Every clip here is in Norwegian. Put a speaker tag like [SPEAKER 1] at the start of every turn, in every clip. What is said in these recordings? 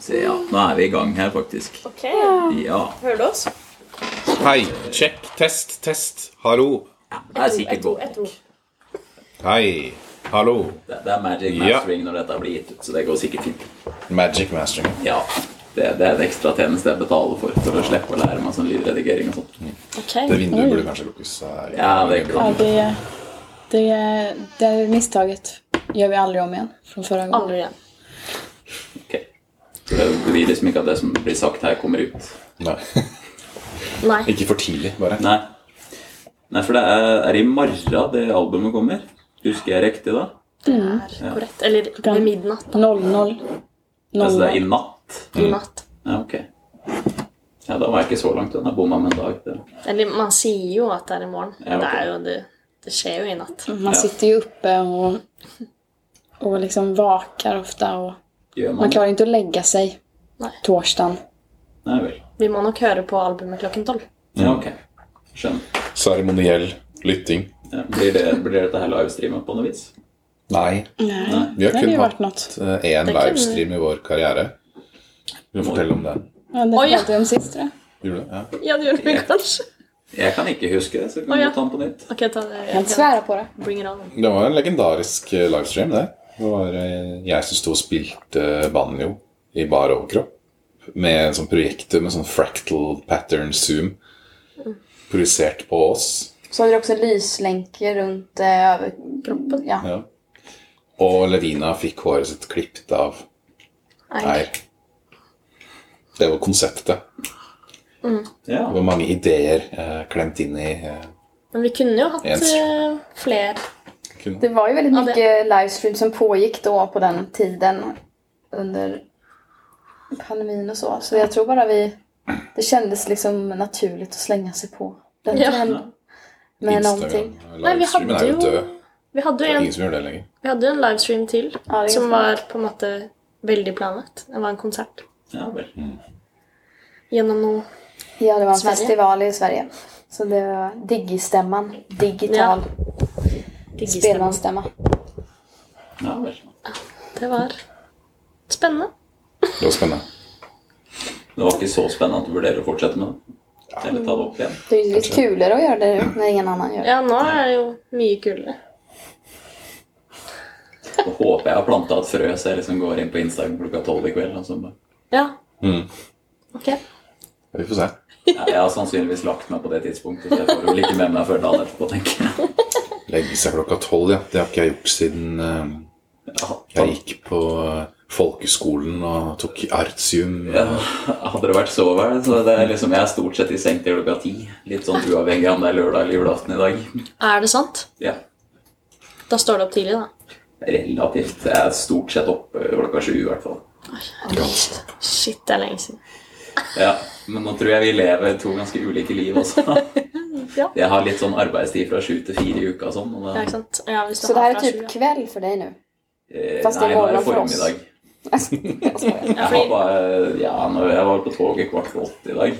[SPEAKER 1] Så ja, nå er vi i gang her, faktisk.
[SPEAKER 2] Ok,
[SPEAKER 1] Ja.
[SPEAKER 2] hører du oss?
[SPEAKER 3] Hei. Sjekk. Test, test. Hallo.
[SPEAKER 1] Det er sikkert
[SPEAKER 2] Et ord,
[SPEAKER 1] godt
[SPEAKER 2] et ord.
[SPEAKER 1] nok.
[SPEAKER 3] Hei. Hallo.
[SPEAKER 1] Det, det er magic
[SPEAKER 3] Ja.
[SPEAKER 1] mastering når dette blir gitt ut, så det går sikkert fint.
[SPEAKER 3] Magic mastering.
[SPEAKER 1] Ja. Det, det er en ekstra tjeneste jeg betaler for, for å slippe å lære meg sånn lydredigering og sånt.
[SPEAKER 4] Ok.
[SPEAKER 3] Det vinduet
[SPEAKER 4] Oi.
[SPEAKER 3] burde kanskje lukkes. her.
[SPEAKER 1] Ja, det
[SPEAKER 4] Ja,
[SPEAKER 1] kan
[SPEAKER 4] det, det, det misstaget gör vi aldrig om igen från förra gången.
[SPEAKER 2] Aldri igjen.
[SPEAKER 1] Ok. Så det blir liksom ikke at det som blir sagt her, kommer ut.
[SPEAKER 3] Nei.
[SPEAKER 2] Nei.
[SPEAKER 3] Ikke for tidlig, bare.
[SPEAKER 1] Nei. Nei, for det er, er i morgen det albumet kommer. Husker jeg riktig da?
[SPEAKER 2] Korrekt. Eller ved midnatt. da.
[SPEAKER 4] 00.
[SPEAKER 1] Altså det er
[SPEAKER 4] 00.
[SPEAKER 1] i natt.
[SPEAKER 3] Mm.
[SPEAKER 2] I natt.
[SPEAKER 1] Ja, ok. Ja, da var jeg ikke så langt unna. Bomma med en dag. Det.
[SPEAKER 2] Eller man sier jo at det er i morgen.
[SPEAKER 1] Ja, ok.
[SPEAKER 2] Det er jo det. Det skjer jo i natt.
[SPEAKER 4] Man sitter ju uppe och, och liksom vakar ofta och
[SPEAKER 1] Gjør man
[SPEAKER 4] man
[SPEAKER 1] det?
[SPEAKER 4] klarar inte att lägga sig
[SPEAKER 2] Nej.
[SPEAKER 4] torsdagen.
[SPEAKER 1] Nei vel.
[SPEAKER 2] Vi må nok høre på albumet klokken tolv.
[SPEAKER 1] Ja, ok. Skjønner.
[SPEAKER 3] Seremoniell lytting.
[SPEAKER 1] Ja, blir, det, blir dette her livestreama på noe vis?
[SPEAKER 3] Nei.
[SPEAKER 4] Nej,
[SPEAKER 3] Vi
[SPEAKER 4] det
[SPEAKER 3] har
[SPEAKER 4] hade
[SPEAKER 3] kun
[SPEAKER 4] ju varit
[SPEAKER 3] hatt
[SPEAKER 4] något.
[SPEAKER 3] eh, én
[SPEAKER 2] Det kunne-
[SPEAKER 3] livestream i vår karriere. Vil du fortelle om det?
[SPEAKER 4] Ja, det
[SPEAKER 2] Oj, ja.
[SPEAKER 4] pratade vi om sist tror jag.
[SPEAKER 3] Gjorde du det? Ja.
[SPEAKER 2] Ja, det gjør vi kanskje.
[SPEAKER 1] Jeg kan inte huske det, så kan
[SPEAKER 2] Å, ja.
[SPEAKER 1] vi ta den på nytt.
[SPEAKER 2] Ok, ta det.
[SPEAKER 4] Jag kan inte svära på det.
[SPEAKER 2] Bring it on.
[SPEAKER 3] Det var en legendarisk eh, livestream, det. Det var eh, jeg som sto og spilte eh, banjo i bar overkropp. Med en sånn projektor med sånn fractal pattern zoom. Projisert på oss.
[SPEAKER 5] Så hade du också lyslänkor runt eh, över...
[SPEAKER 2] Kroppen.
[SPEAKER 5] Ja.
[SPEAKER 3] Ja. Og Levina fikk håret sitt klippet av
[SPEAKER 2] Nei.
[SPEAKER 3] eir. Det var konseptet.
[SPEAKER 1] Ja.
[SPEAKER 3] Det var mange ideer eh, klemt inn i eh,
[SPEAKER 2] Men vi kunne jo hatt
[SPEAKER 3] Jens.
[SPEAKER 2] eh, fler.
[SPEAKER 3] kun-
[SPEAKER 5] Det var ju väldigt
[SPEAKER 2] Ja, det-
[SPEAKER 5] mycket livestream som pågick då på den tiden under pandemin och så. Så jag tror bara vi... Det kändes liksom naturligt att slänga sig på den
[SPEAKER 2] Ja.
[SPEAKER 5] trenden. Med
[SPEAKER 3] Instagram.
[SPEAKER 5] någonting.
[SPEAKER 2] Nei, vi
[SPEAKER 3] Livestreamen
[SPEAKER 2] hadde
[SPEAKER 3] er jo
[SPEAKER 2] jo,
[SPEAKER 3] død.
[SPEAKER 2] vi hadde
[SPEAKER 3] Det
[SPEAKER 2] jo
[SPEAKER 3] er
[SPEAKER 2] en,
[SPEAKER 3] ingen som gjør det lenger.
[SPEAKER 2] vi hadde jo en livestream til
[SPEAKER 5] Ja, det er
[SPEAKER 2] som
[SPEAKER 5] sant.
[SPEAKER 2] var på en måte veldig planlagt. Det var en konsert
[SPEAKER 1] ja vel.
[SPEAKER 2] gjennom noe
[SPEAKER 5] Ja, det var en
[SPEAKER 2] Sverige.
[SPEAKER 5] festival i Sverige. Så det var Digistämman. Digital
[SPEAKER 2] diggistemt.
[SPEAKER 5] spelmansstämma.
[SPEAKER 1] Ja vel.
[SPEAKER 2] Det var spennende.
[SPEAKER 3] Det var spennende.
[SPEAKER 1] Det var ikke så spennende at du vurderer å fortsette med det? Eller ta det opp igjen?
[SPEAKER 5] Det är ju kulare att göra det när ingen annan gör det.
[SPEAKER 2] Ja, nå er det jo mye kulere.
[SPEAKER 1] Da håper jeg har planta et frø, så jeg liksom går inn på Instagram klokka tolv i kveld. Og så bare
[SPEAKER 2] Ja.
[SPEAKER 3] Mm.
[SPEAKER 2] Ok.
[SPEAKER 3] Vi får se.
[SPEAKER 1] ja, Jeg har sannsynligvis lagt meg på det tidspunktet, så jeg får vel ikke med meg før dagen etterpå, tenker jeg.
[SPEAKER 3] Legge seg klokka tolv, ja. Det har ikke jeg gjort siden eh,
[SPEAKER 1] Ja,
[SPEAKER 3] jeg gikk på eh, folkeskolen og tok artium.
[SPEAKER 1] Ja, hadde det vært så vel, så det er liksom, jeg er stort sett i seng til klokka ti. Litt sånn uavhengig av om det er lørdag eller julaften i dag.
[SPEAKER 2] Er det sant?
[SPEAKER 1] Ja,
[SPEAKER 2] Da står det opp tidlig, da.
[SPEAKER 1] relativt. Jeg er stort sett oppe klokka sju i hvert fall.
[SPEAKER 2] Shit, det er lenge siden.
[SPEAKER 1] Ja, men nå tror jeg vi lever to ganske ulike liv også.
[SPEAKER 2] Ja.
[SPEAKER 1] Jeg har litt sånn arbeidstid fra sju til fire i uka og sånn. Og
[SPEAKER 2] Ja,
[SPEAKER 1] da,
[SPEAKER 2] ikke sant? Ja, hvis du
[SPEAKER 5] Så det
[SPEAKER 2] har
[SPEAKER 5] här är
[SPEAKER 2] fra
[SPEAKER 5] typ
[SPEAKER 2] sju,
[SPEAKER 5] kväll för dig nu?
[SPEAKER 1] eh,
[SPEAKER 5] fast det er
[SPEAKER 1] nei, nå er det
[SPEAKER 5] morgen for oss. sånn,
[SPEAKER 1] formiddag.
[SPEAKER 5] Jag
[SPEAKER 1] Jeg
[SPEAKER 2] ja.
[SPEAKER 5] skojar.
[SPEAKER 1] har bare, ja, når jeg var på toget kvart på åtte i dag.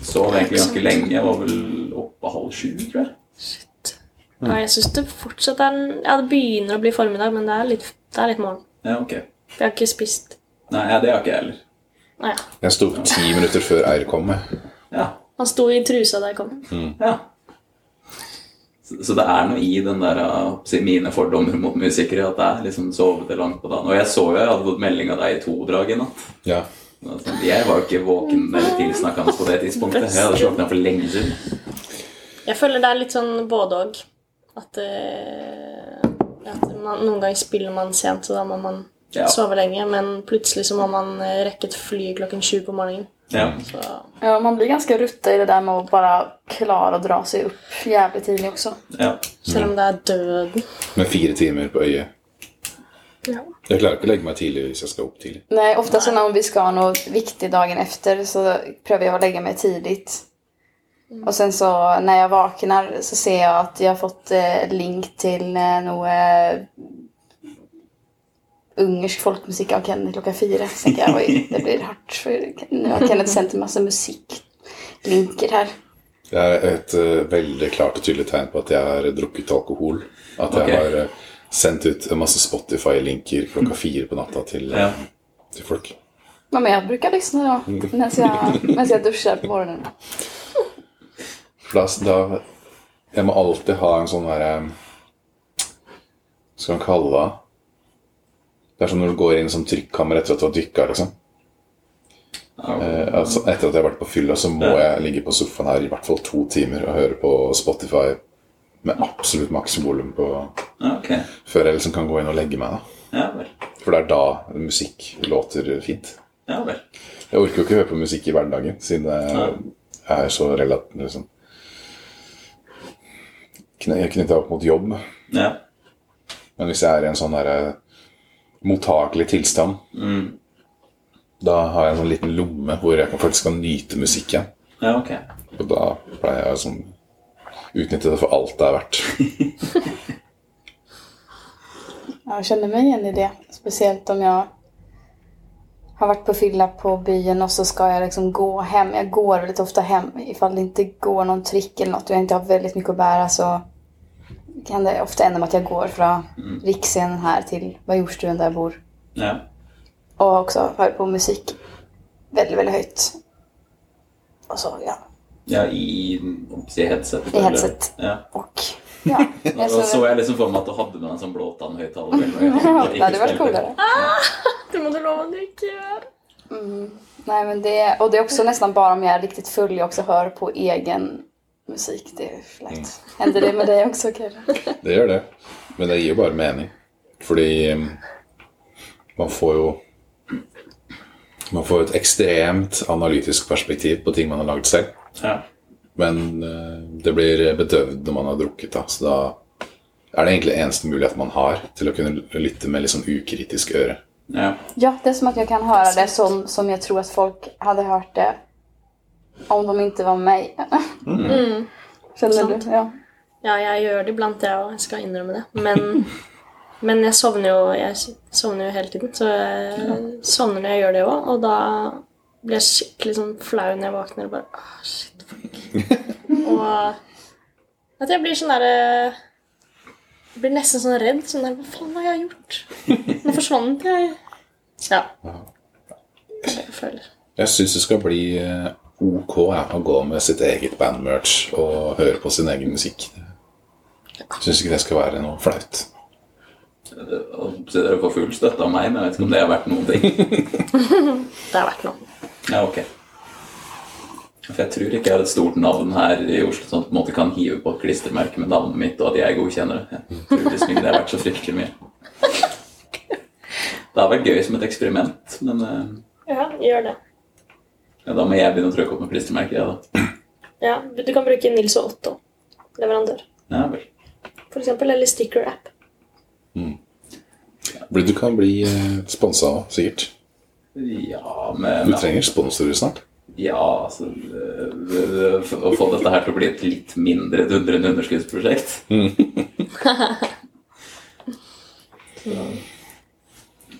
[SPEAKER 1] Sov egentlig ganske lenge. Jeg var vel oppe halv sju, tror jeg.
[SPEAKER 2] Ja, jeg syns det fortsatt er en- Ja, det begynner å bli formiddag, men det er litt, det er litt morgen.
[SPEAKER 1] Ja, ok.
[SPEAKER 2] For jeg har ikke spist
[SPEAKER 1] Nei, ja, det har ikke jeg heller.
[SPEAKER 2] Nei, ja.
[SPEAKER 3] Jeg sto opp ti minutter før Eir kom. jeg.
[SPEAKER 1] Ja,
[SPEAKER 2] Han sto i trusa da jeg kom.
[SPEAKER 1] Ja. Så, så det er noe i den der, uh, si, mine fordommer mot musikere at jeg liksom sovete langt på dagen. Og jeg så jo jeg hadde fått melding av deg i to drag i natt.
[SPEAKER 3] Ja.
[SPEAKER 1] Altså, Jeg var jo ikke våken eller tilsnakkende på det tidspunktet. Jeg hadde slått ned for lenge siden.
[SPEAKER 2] Jeg føler det er litt sånn både og. At, eh, at man, noen ganger spiller man sent, så da må man
[SPEAKER 1] Ja.
[SPEAKER 2] sove lenge. Men plutselig så må man eh, rekke et fly klokken sju på morgenen.
[SPEAKER 1] Ja.
[SPEAKER 2] Så
[SPEAKER 5] Ja, man blir ganska rutta i det där med att bara klara att dra sig upp jävligt tidigt också.
[SPEAKER 1] ja.
[SPEAKER 2] selv om det er døden
[SPEAKER 3] Med fire timer på øyet.
[SPEAKER 2] ja.
[SPEAKER 3] Jeg klarer ikke å legge meg tidlig hvis jeg skal opp tidlig.
[SPEAKER 5] Nej, ofta så när vi ska ha något viktigt dagen efter så prövar jag att lägga mig tidigt. Och sen så när jag vaknar så ser jag att jag har fått eh, link till eh, nog eh, ungersk folkmusik av Kenneth klockan fyra. Så tänker jag oj, det blir hårt. För nu har Kenneth sänt en massa musiklinker här.
[SPEAKER 3] Det er et eh, veldig klart og tydelig tegn på at jeg har drukket alkohol. At jeg
[SPEAKER 1] Ok.
[SPEAKER 3] har eh, sendt ut en masse Spotify-linker klokka fire på natta til, eh,
[SPEAKER 1] Ja.
[SPEAKER 3] til folk.
[SPEAKER 5] Mamma, jag brukar lyssna då. Medan jag, medan jag duschar på morgonen.
[SPEAKER 3] For da, da Jeg må alltid ha en sånn derre Skal man kalle det Det er som når du går inn som trykkammer etter at du har dykka, liksom. Eh, altså, etter at jeg har vært på fylla, så må jeg ligge på sofaen her i hvert fall to timer og høre på Spotify med absolutt maks volum på
[SPEAKER 1] Ja, ok.
[SPEAKER 3] før jeg liksom kan gå inn og legge meg. da.
[SPEAKER 1] Ja vel.
[SPEAKER 3] For det er da musikk låter fint.
[SPEAKER 1] Ja vel.
[SPEAKER 3] Jeg orker jo ikke høre på musikk i hverdagen, siden jeg er så relativt liksom, knytta opp mot jobb.
[SPEAKER 1] Ja.
[SPEAKER 3] Men hvis jeg er i en sånn der, eh, mottakelig tilstand, da har jeg en sånn liten lomme hvor jeg kan faktisk kan nyte musikken.
[SPEAKER 1] Ja, ok.
[SPEAKER 3] Og da pleier jeg å sånn, utnytte det for alt det er verdt.
[SPEAKER 5] Ja, Jag känner mig igen i det. Speciellt om jag har varit på fylla på byen och så ska jag liksom gå hem. Jag går väldigt ofta hem. Ifall det inte går någon trick eller något och jag inte har väldigt mycket att bära så kan det ofta ända med att jag går från Riksscenen här till Bajorstuen där jag bor.
[SPEAKER 1] Ja.
[SPEAKER 5] Och också hör på musik väldigt, väldigt høyt. Och så, ja.
[SPEAKER 1] ja i om jeg sier headsetet.
[SPEAKER 5] I
[SPEAKER 1] eller-
[SPEAKER 5] headset.
[SPEAKER 1] Ja.
[SPEAKER 5] Och, ja.
[SPEAKER 1] Da
[SPEAKER 5] Jag
[SPEAKER 1] så
[SPEAKER 5] så,
[SPEAKER 1] jeg liksom for meg at du hadde med en sånn blåtannhøyttaler.
[SPEAKER 5] det hade varit coolare.
[SPEAKER 2] Det må du love at du ikke gjør.
[SPEAKER 5] Nej, men det, och det är också nästan bara om jag är riktigt full jag också hör på egen musik. Det är fläkt. Händer det med dig också Kira?
[SPEAKER 3] Det gjør det. Men det gir jo bare mening. Fordi um, man får jo Man får jo et ekstremt analytisk perspektiv på ting man har lagd selv.
[SPEAKER 1] Ja.
[SPEAKER 3] Men eh, det blir bedøvd når man har drukket, da. Så da er det egentlig eneste mulighet man har til å kunne lytte med litt sånn ukritisk øre.
[SPEAKER 1] Ja.
[SPEAKER 5] Ja, det är som att jag kan höra det som, som jag tror att folk hade hört det om de inte var mig. Känner
[SPEAKER 2] Sant.
[SPEAKER 5] du? Ja.
[SPEAKER 2] Ja, jeg gjør det iblant, jeg òg. Jeg skal innrømme det. Men, men jeg sovner jo jeg sovner jo hele tiden. Så jeg sovner når jeg gjør det òg. Og da blir jeg skikkelig sånn flau når jeg våkner og bare Åh, shit, fuck. og at jeg blir sånn derre jeg blir nesten sånn redd. sånn der, Hva faen har jeg gjort? Nå forsvant jeg. Ja. Det er det jeg føler.
[SPEAKER 3] Jeg syns det skal bli eh, ok ja, å gå med sitt eget bandmerch og høre på sin egen musikk. Syns ikke det skal være noe flaut.
[SPEAKER 1] Og så Dere får full støtte av meg, men jeg vet ikke om det har vært noen ting.
[SPEAKER 2] Det har vært noe.
[SPEAKER 1] Ja, ok. For jeg tror ikke jeg har et stort navn her i Oslo sånn at jeg på en måte kan hive på et klistremerke med navnet mitt, og at jeg godkjenner det. Jeg tror liksom ikke det har vært så fryktelig mye. Det har vært gøy som et eksperiment, men eh,
[SPEAKER 2] Ja, gjør det.
[SPEAKER 1] ja, da må jeg begynne å trykke opp med klistremerker, jeg, da.
[SPEAKER 2] Ja, Du kan bruke Nils og Otto, leverandør,
[SPEAKER 1] Ja vel.
[SPEAKER 2] for eksempel, eller sticker-app.
[SPEAKER 3] Blir- Du kan bli sponsa òg, sikkert.
[SPEAKER 1] Ja, men
[SPEAKER 3] Du trenger sponsorer snart.
[SPEAKER 1] Ja, altså øh, øh, Å få dette her til å bli et litt mindre dundrende underskuddsprosjekt. Så.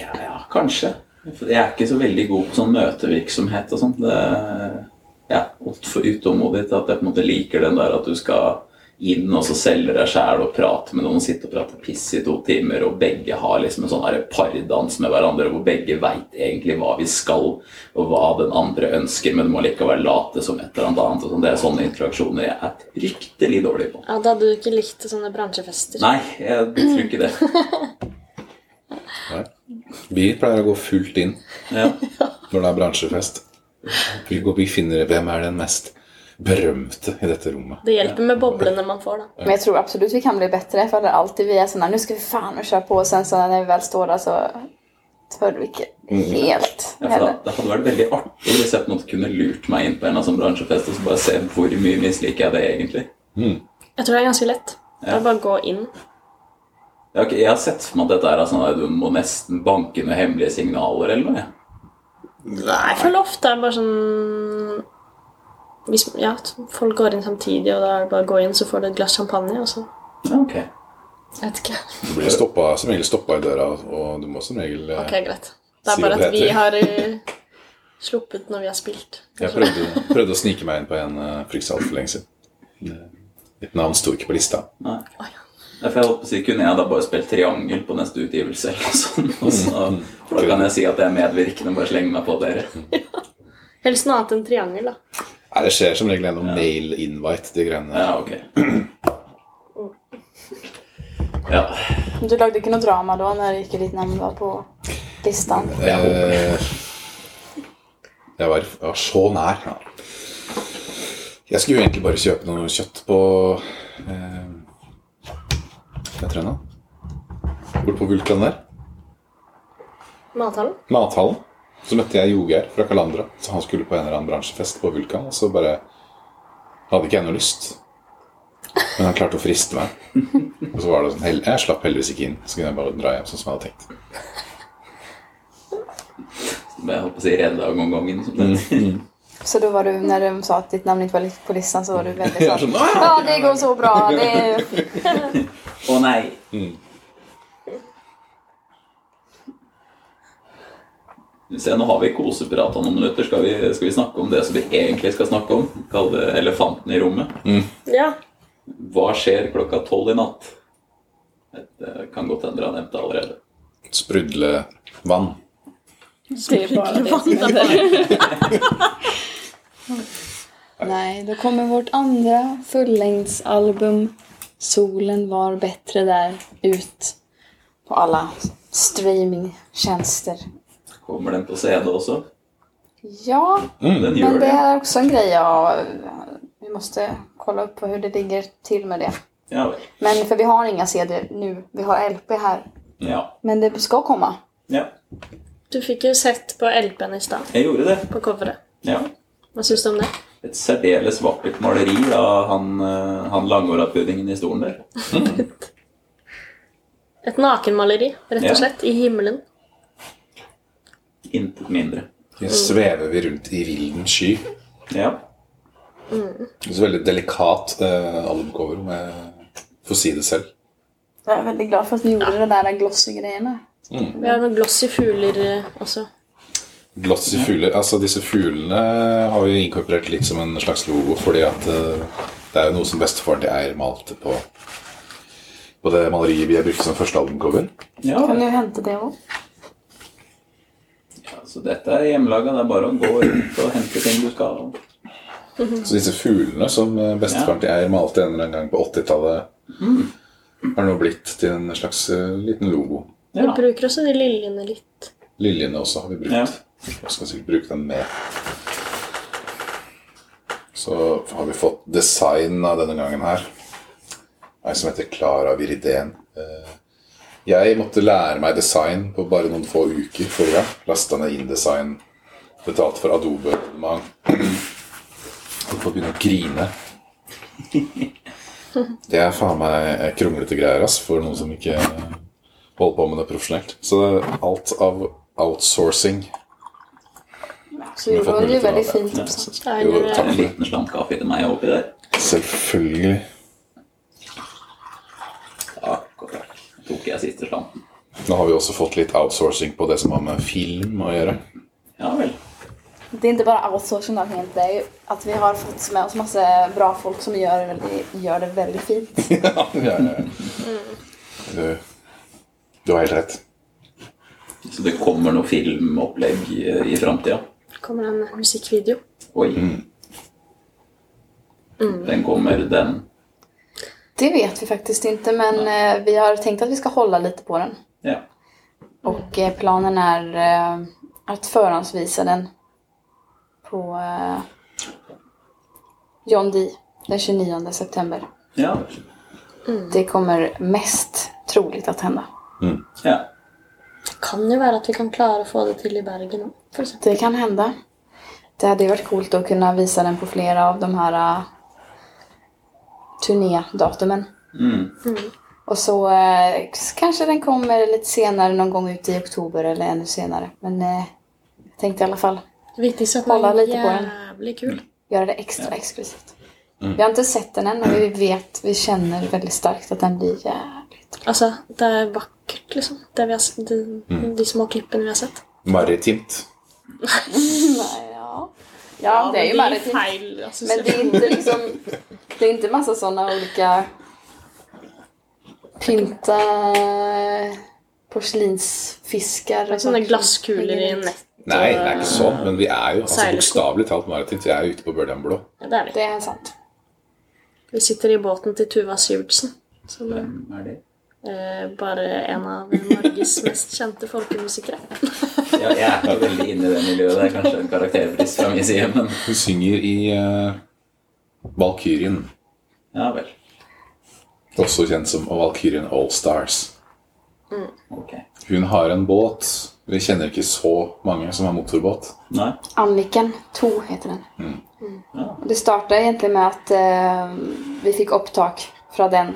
[SPEAKER 1] Ja, ja, kanskje. For Jeg er ikke så veldig god på sånn møtevirksomhet og sånt. Det- Jeg er altfor utålmodig til at jeg på en måte liker den der at du skal inn og så selge deg sjæl og prate med noen, sitte og prate piss i to timer, og begge har liksom en sånn her pardans med hverandre hvor begge veit egentlig hva vi skal, og hva den andre ønsker, men du må likevel late som et eller annet. Og sånn. Det er sånne interaksjoner jeg er fryktelig dårlig på.
[SPEAKER 2] Ja, Da hadde du ikke likt sånne bransjefester.
[SPEAKER 1] Nei, jeg tror ikke det.
[SPEAKER 3] Nei. Vi pleier å gå fullt inn
[SPEAKER 1] Ja.
[SPEAKER 3] når det er bransjefest. Vi, går, vi finner hvem er den mest berømte i dette rommet.
[SPEAKER 2] Det hjelper med boblene man får, da.
[SPEAKER 5] Men jag tror absolut vi kan bli bättre för det är alltid vi är sådana, nu ska vi fan och köra på och sen så när vi väl står där så hör vi inte helt.
[SPEAKER 1] Ja, for da,
[SPEAKER 5] heller.
[SPEAKER 1] det hadde vært veldig artig hvis jeg på en måte kunne lurt meg inn på en av sånne bransjefester og så bare se hvor mye misliker jeg det egentlig.
[SPEAKER 2] Jeg tror det er ganske lett. Det er bare å gå inn.
[SPEAKER 1] Ja, ok, jeg har sett for meg at dette er sånn at du må nesten banke med hemmelige signaler eller noe. jeg.
[SPEAKER 2] Jeg føler ofte det er bare sånn Hvis ja, folk går inn samtidig, og da er det bare å gå inn, så får du et glass champagne, og så
[SPEAKER 1] Ja, ok.
[SPEAKER 2] Jeg vet ikke.
[SPEAKER 3] Du blir stoppa, som regel stoppa i døra, og du må som regel eh,
[SPEAKER 2] Ok, greit. Det
[SPEAKER 3] Si
[SPEAKER 2] er bare
[SPEAKER 3] hva det
[SPEAKER 2] at vi
[SPEAKER 3] heter.
[SPEAKER 2] har eh, sluppet når vi har spilt.
[SPEAKER 3] Jeg prøvde, prøvde å snike meg inn på en eh, for ikke så altfor lenge siden. Mitt navn sto ikke på lista.
[SPEAKER 1] Nei.
[SPEAKER 2] Å, ja.
[SPEAKER 1] Ja, for jeg holdt på å si, Kunne jeg da bare spilt triangel på neste utgivelse? eller noe sånt, og så, for Da kan jeg si at jeg er medvirkende og bare slenge meg på dere.
[SPEAKER 2] Helst noe annet enn triangel, da.
[SPEAKER 3] Nei, det skjer som regel gjennom mail invite, de greiene der.
[SPEAKER 1] Ja, ok. Mm. Ja.
[SPEAKER 5] Du lagde ikke noe drama da når ikke ditt navn var på listan?
[SPEAKER 3] Eh, Jeg var, var så nær. Ja. Jeg skulle jo egentlig bare kjøpe noe kjøtt på eh, Hva heter det nå? Borte på Vulkan der.
[SPEAKER 2] Mathallen.
[SPEAKER 3] Mathallen. Så møtte jeg Jogeir fra Kalandra. Så han skulle på en eller annen bransjefest på Vulkan. Og så bare hadde ikke jeg noe lyst. Men han klarte å friste meg. Og så var det sånn hell- Jeg slapp heldigvis ikke inn. Så kunne jeg bare dra hjem sånn som jeg hadde tenkt.
[SPEAKER 1] Jeg holdt på å si redd dag om gangen. Som det. heter.
[SPEAKER 5] Så da var du, når de sa at ditt navn ikke var på listan, så var du veldig
[SPEAKER 3] Jeg er
[SPEAKER 5] sånn
[SPEAKER 3] sånn, «Ah!»
[SPEAKER 5] Ja, det går så bra. Det er
[SPEAKER 1] Å nei! Se, nå har vi koseprat om noen minutter. Skal vi, skal vi snakke om det som vi egentlig skal snakke om? Kall det elefanten i rommet.
[SPEAKER 2] Ja.
[SPEAKER 1] Hva skjer klokka tolv i natt? Det kan godt hende dere har nevnt det allerede.
[SPEAKER 3] Sprudle vann.
[SPEAKER 4] Det er bare det som händer. Nej, då kommer vårt andra fullängdsalbum Solen var bättre där ut.
[SPEAKER 5] På alle streamingtjenester.
[SPEAKER 1] Kommer den på CD også?
[SPEAKER 5] Ja,
[SPEAKER 1] Den
[SPEAKER 5] men
[SPEAKER 1] gjør
[SPEAKER 5] Mm. det
[SPEAKER 1] det.
[SPEAKER 5] er også en greie å Vi måste kolla upp på hur det ligger till med det.
[SPEAKER 1] Ja vel.
[SPEAKER 5] Men för vi har inga CD nu. Vi har LP här.
[SPEAKER 1] Ja.
[SPEAKER 5] Men det ska komma.
[SPEAKER 1] ja.
[SPEAKER 2] Du fikk jo sett på LP-en i stad,
[SPEAKER 1] Jeg gjorde det.
[SPEAKER 2] på coveret.
[SPEAKER 1] Ja.
[SPEAKER 2] Hva syns du om det?
[SPEAKER 1] Et særdeles vakkert maleri av han, eh, han langåra puddingen i stolen der.
[SPEAKER 2] Et nakenmaleri, rett
[SPEAKER 1] Ja.
[SPEAKER 2] og slett, i himmelen.
[SPEAKER 1] Intet mindre.
[SPEAKER 3] Så svever vi rundt i vilden sky.
[SPEAKER 1] Ja.
[SPEAKER 3] Det er så veldig delikat eh, albumcover, om jeg får si det selv.
[SPEAKER 5] Jag är väldigt glad för att ni gjorde det där glossy-grejerna.
[SPEAKER 2] Vi har noen glossy fugler eh, også.
[SPEAKER 3] Glossy fugler. Altså, disse fuglene har vi inkorporert litt som en slags logo, fordi at eh, det er jo noe som bestefaren til Eir malte på, på det maleriet vi har brukt som første albumcover.
[SPEAKER 1] ja.
[SPEAKER 5] Kan ni hämta det också?
[SPEAKER 1] Så Altså, dette er hjemmelaga. Det er bare å gå rundt og hente ting du skal.
[SPEAKER 3] Så disse fuglene som eh, bestefaren til Eir malte en eller annen gang på 80-tallet, har nå blitt til en slags eh, liten logo.
[SPEAKER 2] Vi
[SPEAKER 1] Ja.
[SPEAKER 2] bruker også de liljene litt.
[SPEAKER 3] Liljene også har vi brukt.
[SPEAKER 1] Ja.
[SPEAKER 3] Jeg skal sikkert bruke den mer. Så har vi fått design av denne gangen her. Ei som heter Klara Viridén. Eh, Jeg måtte lære meg design på bare noen få uker forrige gang. Lasta ned InDesign, betalt for Adobe. abonnement. Holdt på å begynne å grine. Det er faen meg kronglete greier ass, for noen som ikke holder på med det profesjonelt. Så alt av outsourcing
[SPEAKER 5] Så gjorde hon ju väldigt fint också.
[SPEAKER 2] Det er
[SPEAKER 3] Jo,
[SPEAKER 2] eh,
[SPEAKER 3] takk
[SPEAKER 1] En
[SPEAKER 3] for det.
[SPEAKER 1] liten slant kaffe til meg oppi der.
[SPEAKER 3] Selvfølgelig.
[SPEAKER 1] Akkurat. Tok jeg siste slanten.
[SPEAKER 3] Nå har vi også fått litt outsourcing på det som har med film å gjøre.
[SPEAKER 1] Ja vel.
[SPEAKER 5] Det är inte bara outsourcing av helt, det är ju att vi har fått med oss massa bra folk som gör det väldigt, gör det väldigt fint.
[SPEAKER 3] ja, ja, ja. Du, du har helt rett.
[SPEAKER 1] Så det kommer noe filmopplegg eh, i framtida.
[SPEAKER 2] kommer det en musikkvideo.
[SPEAKER 1] Oi. Den kommer, den.
[SPEAKER 5] Det vet vi faktiskt inte, men eh, vi har tänkt att vi ska hålla lite på den.
[SPEAKER 1] Ja.
[SPEAKER 5] Och eh, planen är eh, att förhandsvisa den på eh, John Dee den 29 september.
[SPEAKER 1] Ja.
[SPEAKER 5] Det kommer mest troligt att hända.
[SPEAKER 1] ja.
[SPEAKER 2] Det kan jo være at vi kan klare å få det til i Bergen òg, for eksempel.
[SPEAKER 5] Det kan hända. Det hade ju varit coolt att kunna visa den på flera av de här uh, turnédatumen.
[SPEAKER 1] Mm.
[SPEAKER 5] Och så eh, s- kanske den kommer lite senare någon gång ut i oktober eller ännu senare. Men eh, jag tänkte i alla fall
[SPEAKER 2] Det viktigste er
[SPEAKER 5] Holde
[SPEAKER 2] at
[SPEAKER 5] litt
[SPEAKER 2] den
[SPEAKER 5] på
[SPEAKER 2] er
[SPEAKER 5] den.
[SPEAKER 2] jævlig kul.
[SPEAKER 5] göra det extra exklusivt. Vi har inte sett den än men vi vet, vi känner väldigt starkt att den blir jävligt
[SPEAKER 2] Altså, det er vakkert, liksom. Det vi har, s- de, de små klippene vi har sett.
[SPEAKER 3] Maritimt.
[SPEAKER 5] Nej, ja. Mm. ja, det är ju maritimt.
[SPEAKER 2] feil. altså,
[SPEAKER 5] Men det är inte liksom, det är inte massa sådana olika Pynta eh, porselinsfiskar.
[SPEAKER 2] Det er sånne glasskuler i nett.
[SPEAKER 3] Nei, det er ikke sånn, men vi er jo altså,
[SPEAKER 2] Seilsko.
[SPEAKER 3] bokstavelig talt maritimt. Vi er jo ute på Børdan Blå.
[SPEAKER 2] Ja, det er det.
[SPEAKER 5] Det er sant.
[SPEAKER 2] Vi sitter i båten til Tuva Syvertsen. Som er
[SPEAKER 1] Hvem er det?
[SPEAKER 2] eh, bare en av Norges mest kjente folkemusikere.
[SPEAKER 1] Ja, jeg er ikke veldig inne i det miljøet. Det er kanskje en karakterbrist fra min side, men
[SPEAKER 3] Hun synger i eh, Valkyrien,
[SPEAKER 1] ja vel.
[SPEAKER 3] også kjent som Valkyrien All Stars.
[SPEAKER 1] Ok.
[SPEAKER 3] Hun har en båt. Vi kjenner ikke så mange som har motorbåt.
[SPEAKER 1] Nei.
[SPEAKER 5] Anniken 2 heter den.
[SPEAKER 1] Mm. Ja.
[SPEAKER 5] Det starta egentlig med at eh, vi fikk opptak fra den.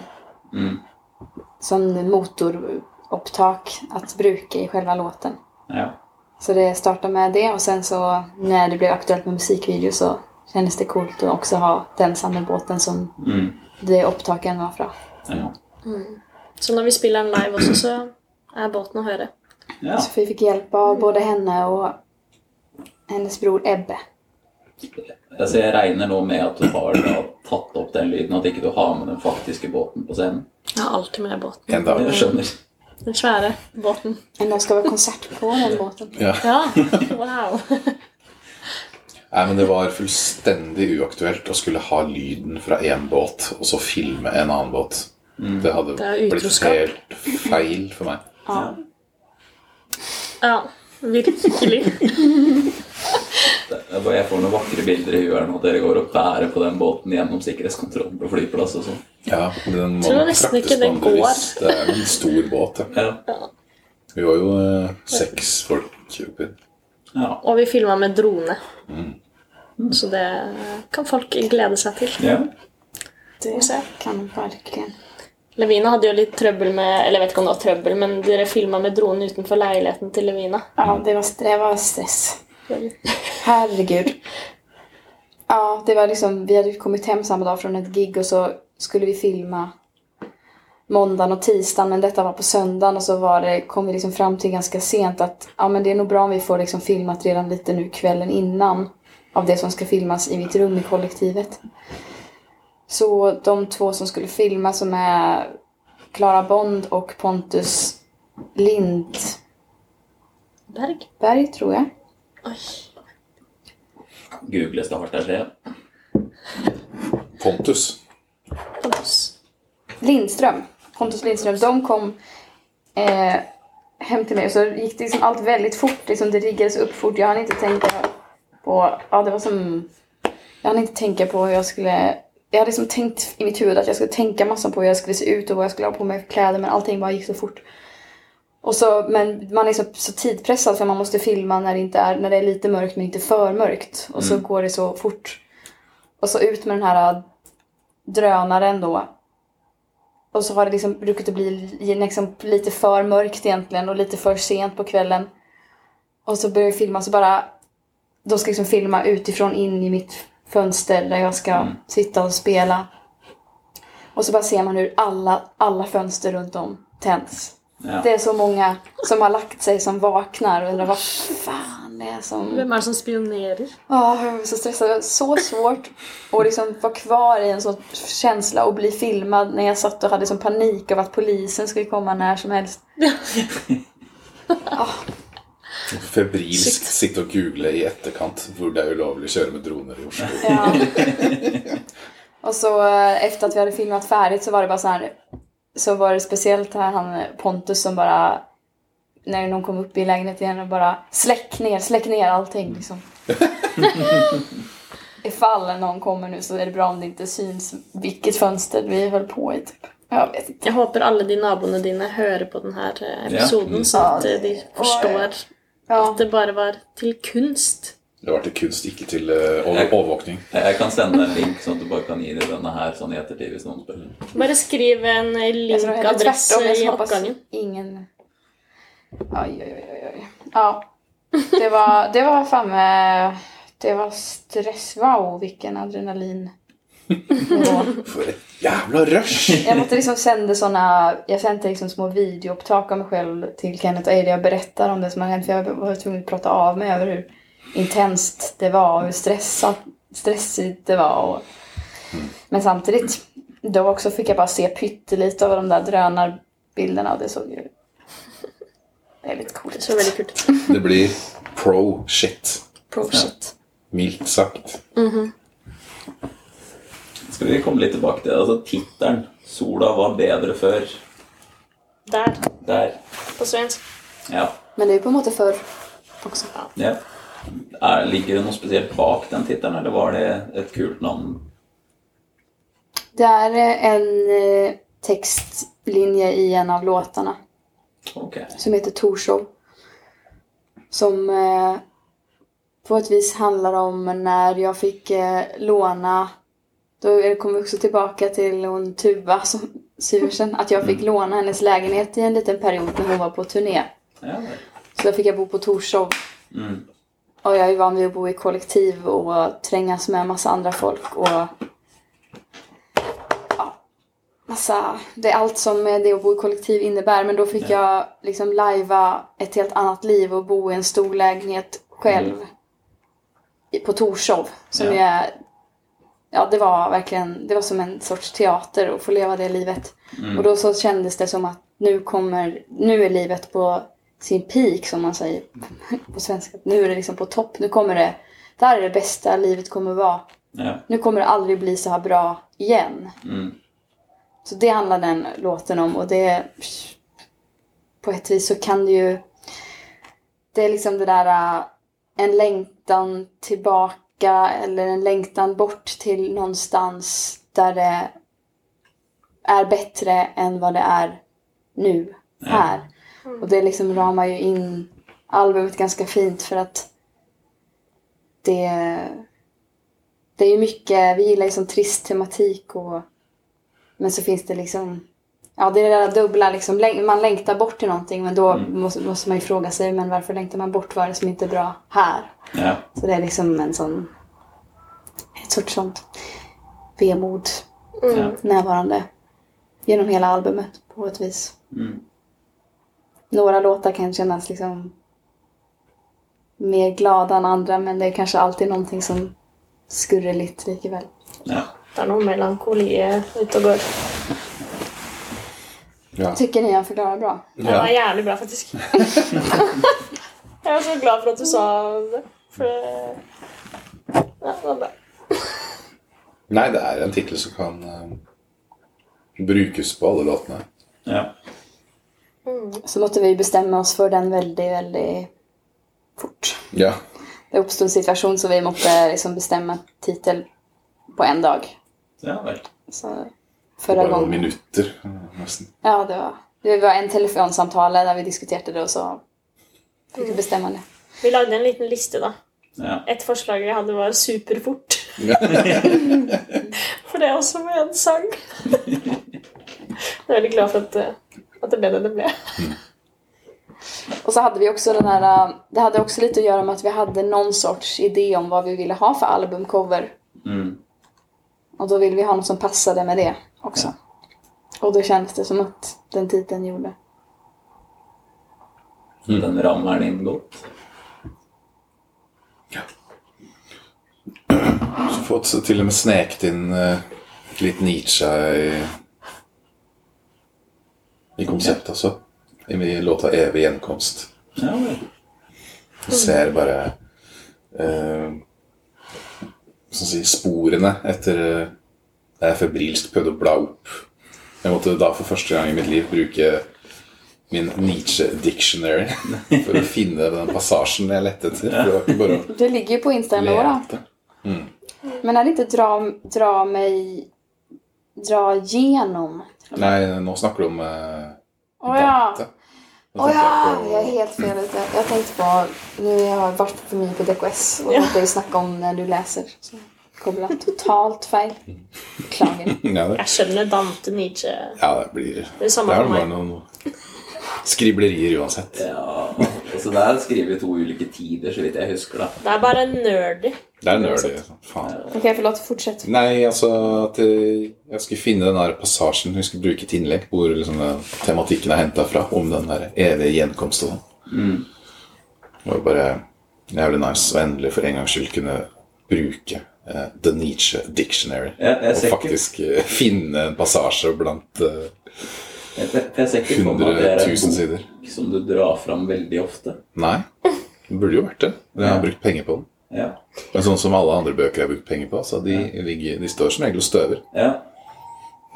[SPEAKER 1] Mm.
[SPEAKER 5] Sånn motoropptak at bruke i själva låten.
[SPEAKER 1] ja.
[SPEAKER 5] Så det starta med det, og sen så når det ble aktuelt med musikkvideo, så kjennes det kult å også ha den samme båten som
[SPEAKER 1] Mm.
[SPEAKER 5] det opptaket var fra.
[SPEAKER 1] ja.
[SPEAKER 2] Så når vi spiller den live også, så er båten å høre.
[SPEAKER 1] ja.
[SPEAKER 5] Så vi fikk hjelp av både henne og hennes bror Ebbe.
[SPEAKER 1] Altså, jeg regner nå med at du har da tatt opp den lyden, at ikke du har med den faktiske båten på scenen.
[SPEAKER 2] Jeg har alltid med båten.
[SPEAKER 3] En dag.
[SPEAKER 1] Jeg skjønner.
[SPEAKER 2] Den svære båten.
[SPEAKER 5] Men det skal være konsert på den båten.
[SPEAKER 3] Ja.
[SPEAKER 2] Ja, wow.
[SPEAKER 3] Nei, men Det var fullstendig uaktuelt å skulle ha lyden fra én båt og så filme en annen båt. Det hadde
[SPEAKER 2] Det er
[SPEAKER 3] blitt
[SPEAKER 2] utroskap.
[SPEAKER 3] helt feil for meg.
[SPEAKER 5] Ja.
[SPEAKER 2] Ja, virkelig.
[SPEAKER 1] Det er bare- Jeg får noen vakre bilder i huet her nå. at Dere går og bærer på den båten gjennom sikkerhetskontrollen på flyplass og sånn.
[SPEAKER 3] Ja, den må
[SPEAKER 2] Tror
[SPEAKER 3] nok
[SPEAKER 2] nesten
[SPEAKER 3] fraktes
[SPEAKER 2] ikke
[SPEAKER 3] på
[SPEAKER 2] den
[SPEAKER 3] andre
[SPEAKER 2] går.
[SPEAKER 3] vis. Det er jo en stor båt. Ja.
[SPEAKER 1] Ja.
[SPEAKER 3] Vi var jo eh, seks folk oppi.
[SPEAKER 1] Ja.
[SPEAKER 2] Og vi filma med drone. Så det kan folk glede seg til.
[SPEAKER 1] ja.
[SPEAKER 5] Det kan virkelig.
[SPEAKER 2] Levina hadde jo litt trøbbel med Eller jeg vet ikke om det var trøbbel, men dere filma med drone utenfor leiligheten til Levina.
[SPEAKER 5] Ja, det var, det var stress. Herregud. Ja, det var liksom, vi hade ju kommit hem samma dag från ett gig och så skulle vi filma måndagen och tisdagen men detta var på söndagen och så var det, kom vi liksom fram till ganska sent att ja, men det är nog bra om vi får liksom filmat redan lite nu kvällen innan av det som ska filmas i mitt rum i kollektivet. Så de två som skulle filma som är Clara Bond och Pontus Lindberg
[SPEAKER 2] Berg?
[SPEAKER 5] tror jeg.
[SPEAKER 2] Oi.
[SPEAKER 1] Googles det hardt der skjer.
[SPEAKER 3] Pontus.
[SPEAKER 2] Pontus.
[SPEAKER 5] Lindström, Pontus Lindström, de kom eh, hem till mig och så gick det liksom allt väldigt fort. Liksom det riggades upp fort. Jag hann inte tänka på... Ja, det var som... Jag hann inte tänka på hur jag skulle... Jag hade liksom tänkt i mitt huvud att jag skulle tänka massa på hur jag skulle se ut och vad jag skulle ha på mig för kläder men allting bara gick så fort. Och så, men man är så, så tidpressad för man måste filma när det, inte är, när det är lite mörkt men inte för mörkt. Och så går det så fort. Och så ut med den här äh, drönaren då och så har det liksom brukat att bli liksom lite för mörkt egentligen och lite för sent på kvällen. Och så börjar vi filma så bara... De ska liksom filma utifrån in i mitt fönster där jag ska sitta och spela. Och så bara ser man hur alla, alla fönster runt om tänds.
[SPEAKER 1] Ja.
[SPEAKER 5] Det är så många som har lagt sig som vaknar och undrar vad fan det är som...
[SPEAKER 2] Hvem er det som spionerer?
[SPEAKER 5] Ja, jag var så stressad. Det var så svårt att liksom vara kvar i en sån känsla och bli filmad när jag satt och hade sån panik av att polisen skulle komma när som helst.
[SPEAKER 3] Febrilsk sitte og google i etterkant hvor det er ulovlig å kjøre med droner i Oslo.
[SPEAKER 5] Ja. Och så eh, efter att vi hade filmat färdigt så var det bara så här så var det speciellt här han eh, Pontus som bara när någon kom upp i lägenheten igen och bara släck ner, släck ner allting liksom. Ifall någon kommer nu så är det bra om det inte syns vilket fönster vi höll på i typ. Jag vet inte.
[SPEAKER 2] Jeg håper alle de naboene dine hører på denne episoden, så
[SPEAKER 5] Mm. Ja.
[SPEAKER 2] at eh, de forstår
[SPEAKER 5] Ja.
[SPEAKER 2] at det bare var til kunst.
[SPEAKER 3] Det var til kunst, ikke til eh, over overvåkning.
[SPEAKER 1] Jeg kan sende en link, sånn at du bare kan gi dem denne her sånn i ettertid hvis noen spør.
[SPEAKER 2] Bare skriv en
[SPEAKER 5] Jag tror hellre tvärtom.
[SPEAKER 2] linkadresse i
[SPEAKER 5] Jag som hoppas
[SPEAKER 2] oppgangen.
[SPEAKER 5] ingen... Oj, oj, oj, oj, oj. Ja. Det var, det var fan med... Det var stress. Wow, vilken adrenalin.
[SPEAKER 3] For et jævla rush!
[SPEAKER 5] Jag måste liksom sända såna... Jag sände liksom små videoupptak av mig själv till Kenneth och Ada. Jag berättar om det som har hänt. För jag var tvungen att prata av mig över hur intenst det var och hur stressat, stressigt det var. Och... Men samtidigt Då också fick jag bara se pyttelite av de där drönarbilderna och det såg ju väldigt coolt
[SPEAKER 2] Det
[SPEAKER 5] ut.
[SPEAKER 2] så veldig kult.
[SPEAKER 3] Det blir pro shit,
[SPEAKER 2] Pro shit.
[SPEAKER 3] mildt sagt.
[SPEAKER 1] Skal vi komme litt tilbake til det? Altså, Tittelen 'Sola var bedre før'
[SPEAKER 2] Der,
[SPEAKER 1] der.
[SPEAKER 2] på svensk.
[SPEAKER 1] Ja.
[SPEAKER 5] Men det är på en måte förr också.
[SPEAKER 1] ja. Er, ligger det noe spesielt bak den tittelen, eller var det et kult navn?
[SPEAKER 5] Det är eh, en eh, textlinje i en av låtarna
[SPEAKER 1] Ok.
[SPEAKER 5] som heter Torshov. Som eh, på ett vis handlar om när jag fick eh, låna då kommer vi också tillbaka till hon Tuva som Syversen. Att jag fick låna hennes lägenhet i en liten period när hon var på turné.
[SPEAKER 1] Ja, vel.
[SPEAKER 5] Så då fick jag bo på Torshov.
[SPEAKER 1] mm.
[SPEAKER 5] Och jag är van vid att bo i kollektiv och trängas med massa andra folk och ja, massa, det är allt som det att bo i kollektiv innebär. Men då fick jag liksom lajva ett helt annat liv och bo i en stor lägenhet själv i- på Torshov. Som
[SPEAKER 1] Ja.
[SPEAKER 5] ju är, ja det var verkligen, det var som en sorts teater att få leva det livet. Och då så kändes det som att nu kommer, nu är livet på sin peak som man säger på svenska. Nu är det liksom på topp, nu kommer det, det här är det bästa livet kommer vara.
[SPEAKER 1] ja.
[SPEAKER 5] Nu kommer det aldrig bli så här bra igen.
[SPEAKER 1] Mm.
[SPEAKER 5] Så det handlar den låten om och det... På ett vis så kan det ju... Det är liksom det där... äh, En längtan tillbaka eller en längtan bort till någonstans där det är bättre än vad det är nu, här. Och det liksom ramar ju in albumet ganska fint för att det... Det är ju mycket, vi gillar ju sån trist tematik och men så finns det liksom... Ja, det är det där dubbla. Liksom, läng- man längtar bort till någonting men då måste, måste man ju fråga sig men varför längtar man bort? Vad är det som inte är bra här?
[SPEAKER 1] ja.
[SPEAKER 5] Så det är liksom en sån... Ett sorts sånt vemod
[SPEAKER 1] ja.
[SPEAKER 5] närvarande genom hela albumet på ett vis.
[SPEAKER 1] Mm.
[SPEAKER 5] Några låtar kan kännas liksom mer glada än andra men det är kanske alltid någonting som skurrar lite likaväl.
[SPEAKER 1] ja.
[SPEAKER 2] Det er noe melankoli ute og går.
[SPEAKER 3] Ja.
[SPEAKER 5] Tycker ni han förklarar bra?
[SPEAKER 2] Det var
[SPEAKER 3] Ja.
[SPEAKER 2] jævlig bra, faktisk. jeg er så glad for at du sa det. For det- ja, det var bra.
[SPEAKER 3] Nei, det er en tittel som kan eh, brukes på alle låtene.
[SPEAKER 1] ja.
[SPEAKER 5] så måtte vi bestämma oss för den väldigt, väldigt fort.
[SPEAKER 3] Ja.
[SPEAKER 5] Det uppstod en situation så vi måste liksom bestämma titel på en dag.
[SPEAKER 1] ja vel.
[SPEAKER 5] Så förra
[SPEAKER 3] Bare noen
[SPEAKER 5] gången.
[SPEAKER 3] minutter, eh, nesten.
[SPEAKER 5] Ja, det var, det var en telefonsamtal där vi diskuterade det och så fick vi bestämma det.
[SPEAKER 2] Vi lagde en liten liste, da.
[SPEAKER 1] Ja.
[SPEAKER 2] Et forslag jeg hadde, var 'Superfort'.
[SPEAKER 3] Ja.
[SPEAKER 2] For det er også med en sang. Jeg er veldig glad for at, eh, at det ble det det ble.
[SPEAKER 5] Och så hade vi också den här, äh, det hade också lite att göra med att vi hade någon sorts idé om vad vi ville ha för albumcover.
[SPEAKER 1] Mm.
[SPEAKER 5] Och då ville vi ha något som passade med det också. Och då kändes det som att den titeln gjorde.
[SPEAKER 1] Mm. Den rammer den inn godt.
[SPEAKER 3] Så fått så til og med sneket inn eh, litt Nietzsche i, i konseptet også. I min låta 'Evig gjenkomst'.
[SPEAKER 1] Ja vel.
[SPEAKER 3] Du ser bare eh, sånn å si, sporene etter eh, det jeg febrilsk prøvde å bla opp. Jeg måtte da for første gang i mitt liv bruke min Nietzsche-dictionary for å finne den passasjen jeg lette etter. For det var ikke bare å
[SPEAKER 5] Det ligger ju på Instagram med våra.
[SPEAKER 3] lete.
[SPEAKER 5] Men är det inte dra, dra mig... Dra genom?
[SPEAKER 3] Nei, nå snakker du om eh,
[SPEAKER 5] Åh ja!
[SPEAKER 3] Dante. Da
[SPEAKER 5] Åh
[SPEAKER 3] tenkte
[SPEAKER 5] ja!
[SPEAKER 3] jeg på-
[SPEAKER 5] Jag är helt fel ute. Jag tänkte på... Nu har jag varit för mycket på DKS och det är ju snack om när du läser. Så kommer det totalt fel. Klagar.
[SPEAKER 3] Ja, det,
[SPEAKER 2] Jeg skjønner Dante Nietzsche.
[SPEAKER 3] ja, det blir
[SPEAKER 2] Det er samme
[SPEAKER 3] det er
[SPEAKER 2] for
[SPEAKER 3] bare
[SPEAKER 2] meg.
[SPEAKER 3] noen skriblerier uansett.
[SPEAKER 1] Ja, altså Det er skrevet i to ulike tider, så vidt jeg husker. da.
[SPEAKER 2] Det er bare nerdy.
[SPEAKER 3] Det er nerdy. Faen.
[SPEAKER 5] Okej, förlåt. Fortsätt.
[SPEAKER 3] Nei, altså at eh, jeg skulle finne den der passasjen vi skulle bruke til innlegg, hvor liksom eh, tematikken er henta fra, om den der evige gjenkomst og sånn.
[SPEAKER 1] Mm.
[SPEAKER 3] Det var bare jævlig nice å endelig for en gangs skyld kunne bruke eh, The Nietzsche Dictionary.
[SPEAKER 1] Ja, jeg
[SPEAKER 3] og
[SPEAKER 1] ser ikke-
[SPEAKER 3] faktisk eh, finne en passasje blant eh,
[SPEAKER 1] Jeg, jeg, jeg ser ikke for meg at det er
[SPEAKER 3] 100 000
[SPEAKER 1] en
[SPEAKER 3] sider.
[SPEAKER 1] bok som du drar fram veldig ofte.
[SPEAKER 3] Nei. Det burde jo vært det. Jeg har
[SPEAKER 1] Ja.
[SPEAKER 3] brukt penger på den.
[SPEAKER 1] Ja.
[SPEAKER 3] Men sånn som alle andre bøker jeg har brukt penger på, så de, ligger, de står som regel og støver.
[SPEAKER 1] ja.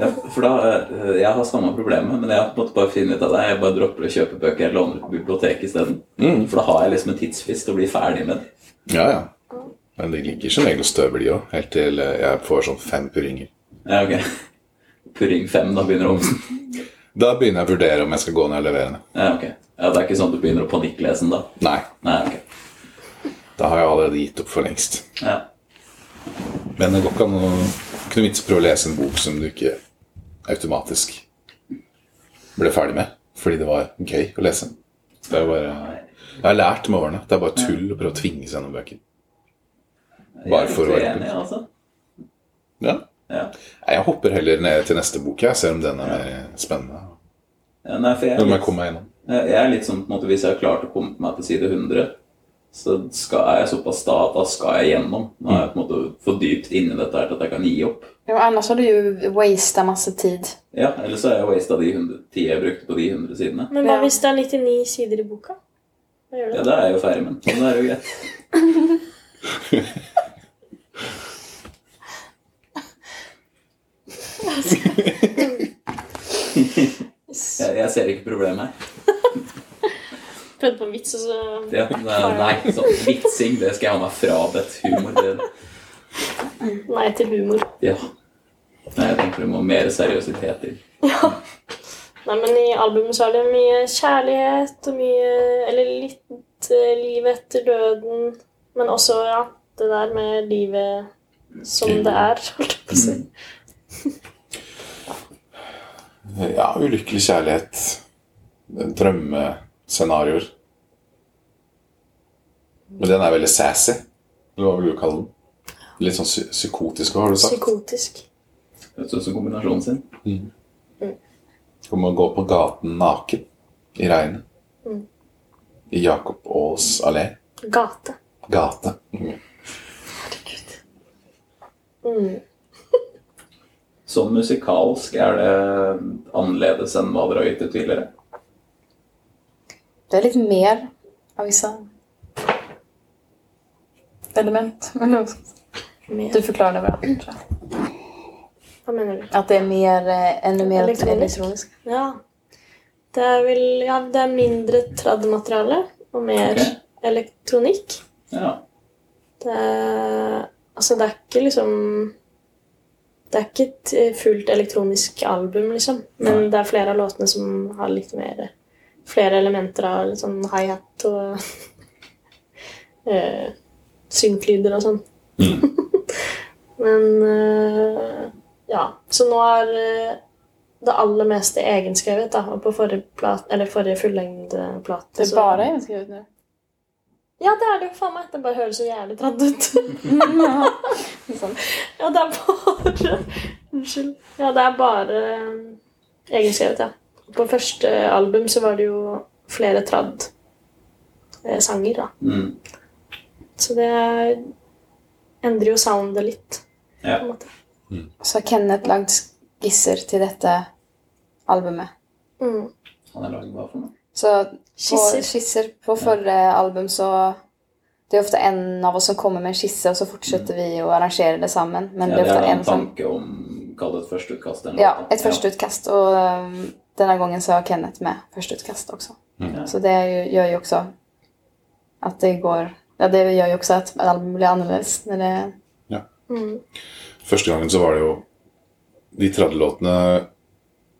[SPEAKER 1] ja for da, eh, Jeg har samme problemet, men jeg har på en måte bare funnet ut av det. Jeg bare dropper å kjøpe bøker jeg låner på biblioteket isteden. For da har jeg liksom en tidsfrist til å bli ferdig med det.
[SPEAKER 3] Ja, ja. Men de ligger som regel og støver, de òg. Helt til eh, jeg får sånn fem purringer.
[SPEAKER 1] Ja, ok. Purring 5, da begynner Omsen.
[SPEAKER 3] Da begynner jeg å vurdere om jeg skal gå ned og levere den.
[SPEAKER 1] Ja, ok. Ja, det er ikke sånn at du begynner å panikklese den da?
[SPEAKER 3] Nei.
[SPEAKER 1] Nei, ok.
[SPEAKER 3] Da har jeg allerede gitt opp for lengst.
[SPEAKER 1] Ja.
[SPEAKER 3] Men det går ikke an å Ikke noe vits å prøve å lese en bok som du ikke automatisk ble ferdig med fordi det var gøy å lese. Det er jo bare Jeg har lært med årene. Det er bare tull å prøve å tvinge seg gjennom bøker. Bare for å
[SPEAKER 1] være
[SPEAKER 3] være
[SPEAKER 1] enig, altså.
[SPEAKER 3] Ja.
[SPEAKER 1] Ja.
[SPEAKER 3] Nei, Jeg hopper heller ned til neste bok, jeg, selv om den er mer spennende.
[SPEAKER 1] Ja, nei, for jeg,
[SPEAKER 3] Nå
[SPEAKER 1] er
[SPEAKER 3] må jeg
[SPEAKER 1] litt,
[SPEAKER 3] komme meg gjennom.
[SPEAKER 1] jeg er litt sånn på en måte Hvis jeg har klart å komme meg til side 100, så skal, er jeg såpass sta at da skal jeg gjennom. Nå er jeg på en måte for dypt inni dette her til at jeg kan gi opp.
[SPEAKER 5] Jo, annars har du ju wastat massa tid.
[SPEAKER 1] Ja, Eller så har jeg wasta de 100 tid jeg brukte på de 100 sidene.
[SPEAKER 2] Men hva
[SPEAKER 5] Ja.
[SPEAKER 2] hvis det er 99 sider i boka? Hva gjør du
[SPEAKER 1] Ja,
[SPEAKER 2] da?
[SPEAKER 1] da er jeg jo ferdig med den. Men det er jo greit. Jeg, jeg ser ikke problemet her.
[SPEAKER 2] Prøvde på en vits, og så
[SPEAKER 1] Ja, nei, nei, sånn vitsing, det skal jeg ha meg frabedt. Humor, det
[SPEAKER 2] Nei til humor.
[SPEAKER 1] Ja. Nei, jeg tenker det må mer seriøsitet til.
[SPEAKER 2] Nei, men i albumet så er det mye kjærlighet og mye Eller litt eh, liv etter døden. Men også, ja, det der med livet som det er, holdt jeg på å si.
[SPEAKER 3] Ja, ulykkelig kjærlighet. Drømmescenarioer. Men den er veldig sassy. Eller hva vil du kalle den? Litt sånn psy- psykotisk, hva har du sagt?
[SPEAKER 2] Psykotisk.
[SPEAKER 1] Vet du som kombinasjonen sin?
[SPEAKER 3] Om å gå på gaten naken i regnet. I Jakob Aas allé.
[SPEAKER 2] Gate.
[SPEAKER 3] Gate.
[SPEAKER 2] Mm.
[SPEAKER 1] Sånn musikalsk er det annerledes enn hva dere har gitt ut tidligere.
[SPEAKER 5] Det är lite mer av vissa element. Men nu-
[SPEAKER 2] Mer.
[SPEAKER 5] du förklarade bra, tror jag.
[SPEAKER 2] Hva mener du?
[SPEAKER 5] Att det är mer, eh, ännu mer
[SPEAKER 2] Elektronisk.
[SPEAKER 5] elektroniskt.
[SPEAKER 2] Ja. Det er vel Ja, det er mindre trad-materiale og mer
[SPEAKER 1] Ok.
[SPEAKER 2] elektronikk.
[SPEAKER 1] Ja.
[SPEAKER 2] Det er, altså, det er ikke liksom Det er ikke et eh, fullt elektronisk album, liksom. Men det er flere av låtene som har litt mer Flere elementer av litt sånn high-hat og eh, synklyder og sånn. Men eh, ja. Så nå er eh, det aller meste egenskrevet, da. Og på forrige, plat, eller forrige fullengdeplate
[SPEAKER 5] Det är
[SPEAKER 2] så-
[SPEAKER 5] bara jag skrivit nu.
[SPEAKER 2] ja, det er det jo faen meg. Det bare høres så jævlig tradd ut.
[SPEAKER 5] Sånn.
[SPEAKER 2] ja, det er bare Unnskyld. Ja, det er bare um, egenskrevet, ja. På første album så var det jo flere tradd-sanger, da.
[SPEAKER 1] Mm.
[SPEAKER 2] Så det endrer jo soundet litt,
[SPEAKER 1] Ja.
[SPEAKER 2] på en måte.
[SPEAKER 5] Så har Kenneth lagd skisser til dette albumet.
[SPEAKER 2] Mm.
[SPEAKER 1] Han er laget hva for noe?
[SPEAKER 5] Så
[SPEAKER 2] Skisser.
[SPEAKER 5] på, skisser på forrige album så Det er ofte en av oss som kommer med en skisse, og så fortsetter vi å arrangere det sammen. Men
[SPEAKER 1] Ja,
[SPEAKER 5] det
[SPEAKER 1] det
[SPEAKER 5] er
[SPEAKER 1] er
[SPEAKER 5] ofte
[SPEAKER 1] en
[SPEAKER 5] en som
[SPEAKER 1] tanke om Kall det et førsteutkast. eller noe
[SPEAKER 5] Ja,
[SPEAKER 1] sånt.
[SPEAKER 5] et førsteutkast. Og um, denne gangen så har Kenneth med førsteutkast også.
[SPEAKER 1] Ja.
[SPEAKER 5] Så det jo- gjør jo også at det går Ja, det gjør jo også at et album blir annerledes når det
[SPEAKER 2] Mm.
[SPEAKER 3] Første gangen så var det jo de 30 låtene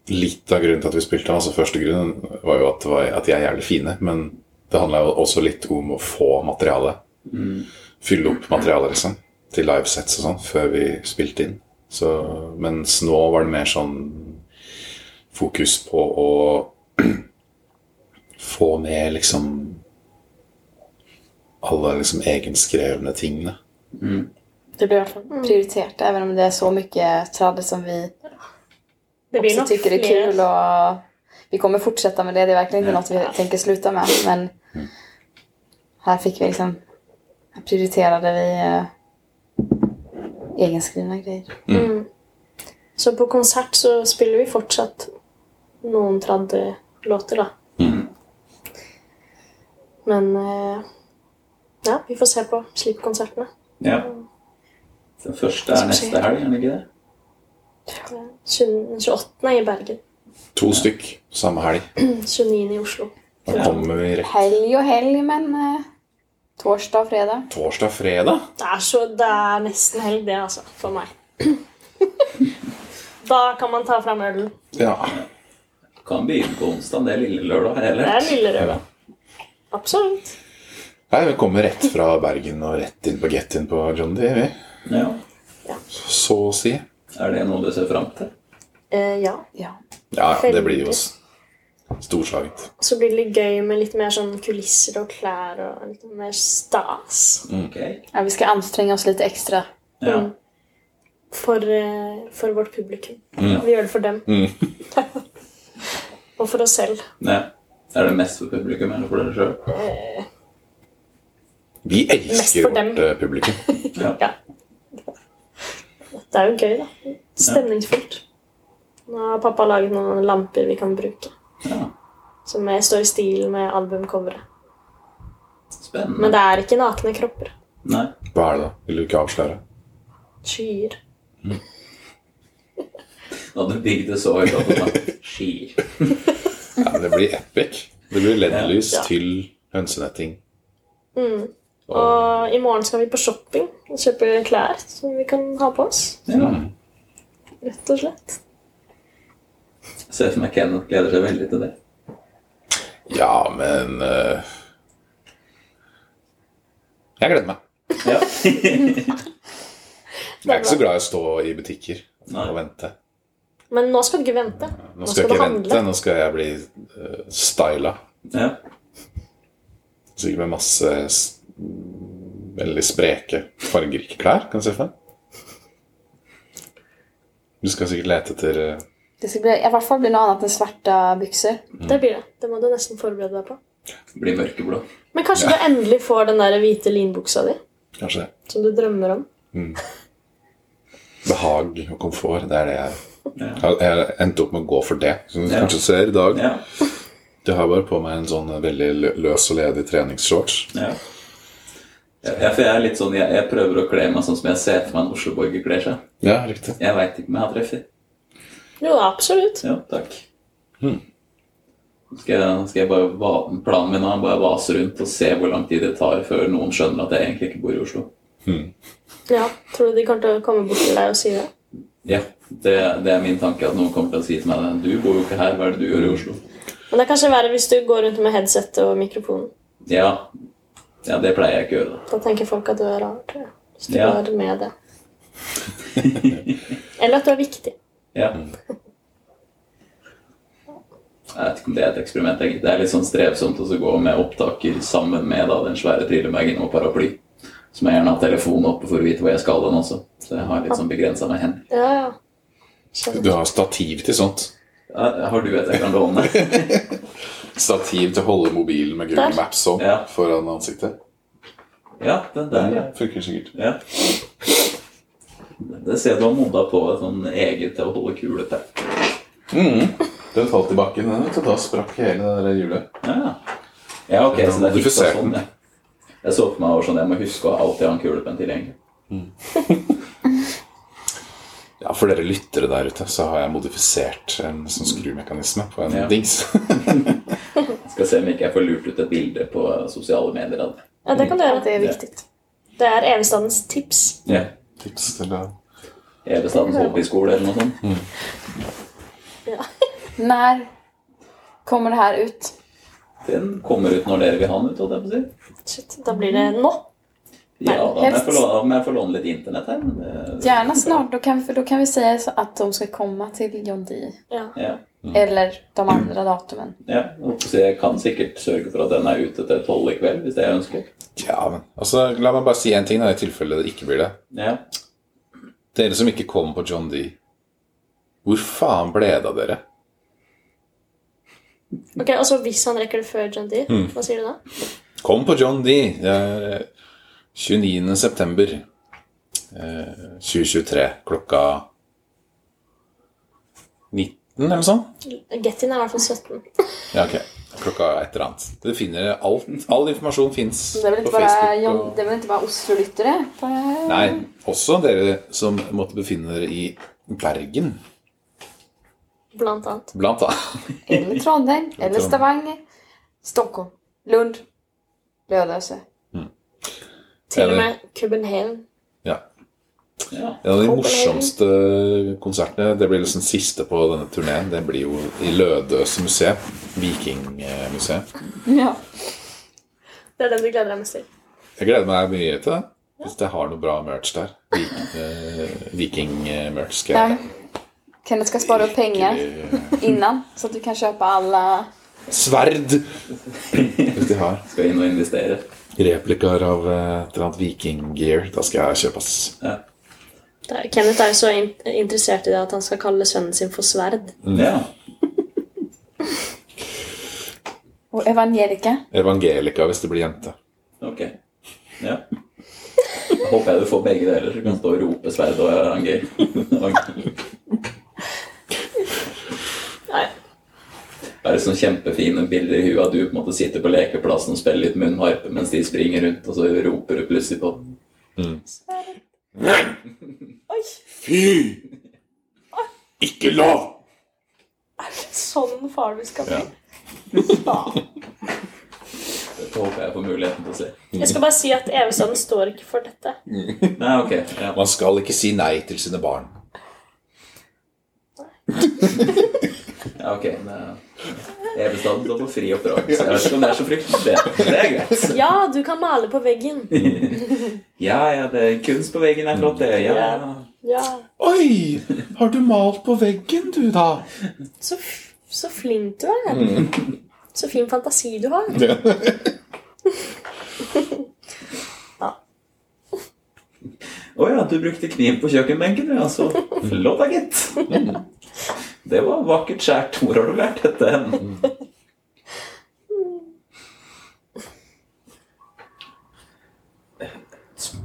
[SPEAKER 3] Litt av grunnen til at vi spilte den, altså første grunnen var jo at, det var, at de er jævlig fine, men det handla jo også litt om å få materiale. Fylle opp materialet, liksom, til livesets og sånn, før vi spilte inn. Så, mens nå var det mer sånn fokus på å få med liksom alle liksom egenskrevne tingene.
[SPEAKER 5] Det blir i hvert fall prioritert, even om det er så mye tradd som vi
[SPEAKER 2] Det blir
[SPEAKER 5] också
[SPEAKER 2] nok
[SPEAKER 5] tycker det är kul
[SPEAKER 2] flere.
[SPEAKER 5] och vi kommer fortsätta med det. Det är verkligen inte något vi tänker sluta med. Men här fick vi liksom, här prioriterade vi eh, egenskrivna grejer.
[SPEAKER 2] Så på konsert så spiller vi fortsatt noen tradde-låter, da. Men eh, ja, vi får se på slippkonsertene.
[SPEAKER 1] Ja. Den første er neste helg, er den ikke det?
[SPEAKER 2] Eh, 28. i Bergen,
[SPEAKER 3] To stykk samme helg.
[SPEAKER 2] 29. i Oslo.
[SPEAKER 3] Da kommer vi rett
[SPEAKER 5] Helg og helg, men eh, torsdag og fredag.
[SPEAKER 3] torsdag, fredag.
[SPEAKER 2] Det er, så, det er nesten helg, det, altså. For meg. da kan man ta fram ølen.
[SPEAKER 3] Ja.
[SPEAKER 1] Kan begynne på onsdag, det er lille lørdag.
[SPEAKER 2] Det
[SPEAKER 1] Eller?
[SPEAKER 2] er lille røde. Absolutt.
[SPEAKER 3] Nei, vi kommer rett fra Bergen og rett inn på Get In på John Dee, vi.
[SPEAKER 1] Ja.
[SPEAKER 3] Så å si.
[SPEAKER 1] Er det noe du ser fram til?
[SPEAKER 2] Eh, ja.
[SPEAKER 5] Ja.
[SPEAKER 3] Ja, ja, det blir jo s- storslagent.
[SPEAKER 2] Så blir det litt gøy med litt mer sånn kulisser og klær og litt mer stas. Mm.
[SPEAKER 1] Ok.
[SPEAKER 5] ja, vi ska anstränga oss lite extra.
[SPEAKER 1] Ja.
[SPEAKER 2] For, eh, for vårt publikum. Vi gjør det for dem. og for oss selv.
[SPEAKER 1] ja. Er det mest for publikum eller for dere sjøl?
[SPEAKER 3] Vi
[SPEAKER 2] Mest
[SPEAKER 3] elsker
[SPEAKER 2] for dem.
[SPEAKER 3] vårt eh, publikum.
[SPEAKER 1] Ja.
[SPEAKER 2] Ja. Det er jo gøy, da. Stemningsfullt. Nå har pappa laget noen lamper vi kan bruke.
[SPEAKER 1] Ja.
[SPEAKER 2] Som er- står i stil med albumcoveret. Men
[SPEAKER 1] Spennende.
[SPEAKER 2] det er ikke nakne kropper.
[SPEAKER 1] Nei.
[SPEAKER 3] Hva er det, da? Vil du ikke avsløre?
[SPEAKER 2] Skyer.
[SPEAKER 1] Du hadde bygd det så høyt at det var skier.
[SPEAKER 3] Ja, det blir epic. Det blir LED-lys
[SPEAKER 2] Ja.
[SPEAKER 3] til hønsenetting.
[SPEAKER 2] Og i morgen skal vi på shopping og kjøpe klær som vi kan ha på oss.
[SPEAKER 1] Ja.
[SPEAKER 2] Rett og slett.
[SPEAKER 1] Jeg Ser for meg Kenneth gleder seg veldig til det.
[SPEAKER 3] Ja, men eh, Jeg gleder meg.
[SPEAKER 1] Ja.
[SPEAKER 3] Jeg er ikke så glad i å stå i butikker
[SPEAKER 1] Nei.
[SPEAKER 3] og vente.
[SPEAKER 2] Men nå skal du ikke vente.
[SPEAKER 3] Nå skal jeg
[SPEAKER 2] du
[SPEAKER 3] ikke vente, nå skal jeg bli uh, styla.
[SPEAKER 1] ja.
[SPEAKER 3] Sikkert med masse s- veldig spreke, fargerike klær. Kan du se for deg? Du skal sikkert lete etter eh,
[SPEAKER 5] Det ska bli, i alla fall bli något annat än svarta byxor.
[SPEAKER 3] Mm.
[SPEAKER 2] Det blir det. Det må du nesten forberede deg på.
[SPEAKER 1] Blir mørkeblå.
[SPEAKER 2] Men kanskje du endelig får den der hvite linbuksa di
[SPEAKER 3] Kanskje det.
[SPEAKER 2] som du drømmer om.
[SPEAKER 3] Behag og komfort. Det er det jeg
[SPEAKER 1] Ja.
[SPEAKER 3] Jeg jeg endte opp med å gå for det. Som du
[SPEAKER 1] Ja.
[SPEAKER 3] kanskje ser i dag.
[SPEAKER 1] Ja.
[SPEAKER 3] Jeg har bare på meg en sånn veldig lø- løs og ledig treningsshorts.
[SPEAKER 1] Ja. Ja, for jeg er litt sånn, jeg, jeg prøver å kle meg sånn som jeg ser for meg en Oslo-borger kler seg.
[SPEAKER 3] Ja, riktig.
[SPEAKER 1] Jeg veit ikke om jeg har treffer.
[SPEAKER 2] Jo, absolutt.
[SPEAKER 1] Ja, takk. Nå Skal, jeg, skal jeg bare, va- planen min er å bare vase rundt og se hvor lang tid det tar før noen skjønner at jeg egentlig ikke bor i Oslo.
[SPEAKER 2] Ja, Tror du de kommer til å komme bort til deg og si det?
[SPEAKER 1] Ja, det, det er min tanke at noen kommer til å si til meg det. Du bor jo ikke her, hva er det du gjør i Oslo?
[SPEAKER 2] Men det er kanskje verre hvis du går rundt med headset og mikrofonen.
[SPEAKER 1] Ja, ja det pleier jeg ikke å gjøre. da.
[SPEAKER 2] Da tenker folk at du er rar, tror jeg. Hvis du
[SPEAKER 1] Ja.
[SPEAKER 2] går med det. Eller at du er viktig.
[SPEAKER 1] Ja. Jeg vet ikke om det er et eksperiment. jeg. Det er litt sånn strevsomt å så gå med opptaker sammen med da, den svære trillebagen og paraply. Så må jeg gjerne ha telefonen oppe for å vite hvor jeg skal den også. Så jeg har litt sånn begrensa med hender.
[SPEAKER 2] Ja, ja.
[SPEAKER 3] Du har stativ til sånt.
[SPEAKER 1] Ja, Har du et jeg kan låne?
[SPEAKER 3] Stativ til å holde mobilen med Google
[SPEAKER 2] Der.
[SPEAKER 3] Maps sånn
[SPEAKER 1] Ja.
[SPEAKER 3] foran ansiktet.
[SPEAKER 1] Ja, den der, ja.
[SPEAKER 3] Funker sikkert.
[SPEAKER 1] ja. Det ser jeg du har modda på et sånn eget til å holde kule til.
[SPEAKER 3] Den falt i bakken, den, vet du. Da sprakk hele det der hjulet.
[SPEAKER 1] Ja, ja ok, så det er fiksa
[SPEAKER 3] Modifisert
[SPEAKER 1] sånn,
[SPEAKER 3] den.
[SPEAKER 1] ja. Jeg så for meg over sånn, jeg må huske å alltid ha en kulepenn tilgjengelig.
[SPEAKER 3] Ja, for dere lyttere der ute, så har jeg modifisert en sånn skrumekanisme på en
[SPEAKER 1] Ja.
[SPEAKER 3] dings.
[SPEAKER 1] Skal se om ikke jeg får lurt ut et bilde på sosiale medier av det.
[SPEAKER 2] ja det kan du
[SPEAKER 5] Ja, det
[SPEAKER 2] gjøre.
[SPEAKER 5] är viktigt.
[SPEAKER 2] Det er Evestadens tips.
[SPEAKER 1] Ja.
[SPEAKER 3] Tips til å
[SPEAKER 1] Evestadens hobbyskole eller noe sånt.
[SPEAKER 5] När kommer det här ut?
[SPEAKER 1] Den kommer ut når dere vil ha den ut, holdt jeg på å si.
[SPEAKER 2] Shit, da blir det nå.
[SPEAKER 1] Ja, da må jeg
[SPEAKER 5] helst.
[SPEAKER 1] få låne, da må jeg få låne litt internett her. Men det,
[SPEAKER 5] Gärna snart, då kan, för då kan vi säga så att de ska komma till John Dee.
[SPEAKER 2] Ja.
[SPEAKER 1] ja,
[SPEAKER 3] Mm.
[SPEAKER 5] Eller de andra datumen.
[SPEAKER 1] ja. Jeg holdt på å si, jeg kan sikkert sørge for at den er ute til tolv i kveld, hvis det er ønskelig.
[SPEAKER 3] Ja, men altså, la meg bare si én ting, da, i tilfelle det ikke blir det.
[SPEAKER 1] Ja.
[SPEAKER 3] Dere som ikke kom på John D. Hvor faen ble det av dere?
[SPEAKER 2] Ok, Og så hvis han rekker det før John Dee, hva sier du da?
[SPEAKER 3] eh, Kom på John D. Det er 29. september. eh, 2023 klokka 19 eller sånn.
[SPEAKER 2] Get in er i hvert fall 17.
[SPEAKER 3] Ja, ok. Klokka et eller annet. Du finner alt, all informasjon fins
[SPEAKER 5] Det er vel
[SPEAKER 3] på
[SPEAKER 5] ikke bare,
[SPEAKER 3] Facebook.
[SPEAKER 5] Jon-
[SPEAKER 3] og-
[SPEAKER 5] det er vel ikke bare Oslo-lyttere? på-
[SPEAKER 3] Nei, også dere som måtte befinne dere i Bergen,
[SPEAKER 2] Blant annet.
[SPEAKER 3] blant annet.
[SPEAKER 5] Eller Trondheim. Eller
[SPEAKER 3] Trondheim.
[SPEAKER 5] Stavanger. Stockholm. Lund. Lødøse.
[SPEAKER 2] Til og
[SPEAKER 3] Eller-
[SPEAKER 2] med København.
[SPEAKER 3] Ja.
[SPEAKER 1] Ja.
[SPEAKER 3] En av de morsomste konsertene, det blir liksom siste på denne turneen, det blir jo i Lødøse museet. Vikingmuseet.
[SPEAKER 5] Ja.
[SPEAKER 2] Det er den du gleder deg mest til.
[SPEAKER 3] Jeg gleder meg mye til det. Hvis jeg har noe bra merch der. Vik- eh, Viking-merch skal jeg
[SPEAKER 5] Nei. Kenneth skal spare opp penger
[SPEAKER 3] Virkelig-
[SPEAKER 5] innan, så at du kan kjøpe alle
[SPEAKER 3] Sverd! Hvis de har
[SPEAKER 1] Skal inn og investere.
[SPEAKER 3] replikker av eh, et eller annet vikinggear, da skal jeg kjøpe, ass.
[SPEAKER 1] Ja.
[SPEAKER 2] Det er- Kenneth er jo så in interessert i det at han skal kalle sønnen sin for Sverd.
[SPEAKER 1] ja.
[SPEAKER 5] Og Evangelika.
[SPEAKER 3] Evangelika hvis det blir jente.
[SPEAKER 1] Ok. Ja. Da håper jeg du får begge deler, så du kan stå og rope sverd og arranger.
[SPEAKER 2] Nei.
[SPEAKER 1] Bare sånne kjempefine bilder i huet. at Du på en måte sitter på lekeplassen og spiller litt munnharpe mens de springer rundt, og så roper du plutselig på dem.
[SPEAKER 3] Fy! Ikke lov!
[SPEAKER 2] Sånn far du skal bli.
[SPEAKER 3] Ja.
[SPEAKER 1] Dette håper jeg får muligheten til å se.
[SPEAKER 2] Jeg skal bare si at Evesønnen står ikke for dette.
[SPEAKER 1] Nei, ok. Ja.
[SPEAKER 3] Man skal ikke si nei til sine barn.
[SPEAKER 1] Ja, ok. Nei. Evestaden står på fri oppdragelse. Jeg vet ikke om det er så fryktelig bedre, men det er greit.
[SPEAKER 2] Ja, du kan male på veggen.
[SPEAKER 1] Ja, ja, det er kunst på veggen er flott, det. Ja, ja.
[SPEAKER 2] Ja.
[SPEAKER 3] Oi! Har du malt på veggen, du, da?
[SPEAKER 2] Så, f- så flink du er. Så fin fantasi du har.
[SPEAKER 1] Å ja, du brukte kniv på kjøkkenbenken, du, altså. Flott da, gitt. Det var vakkert skjært. Hvor har du lært dette hen?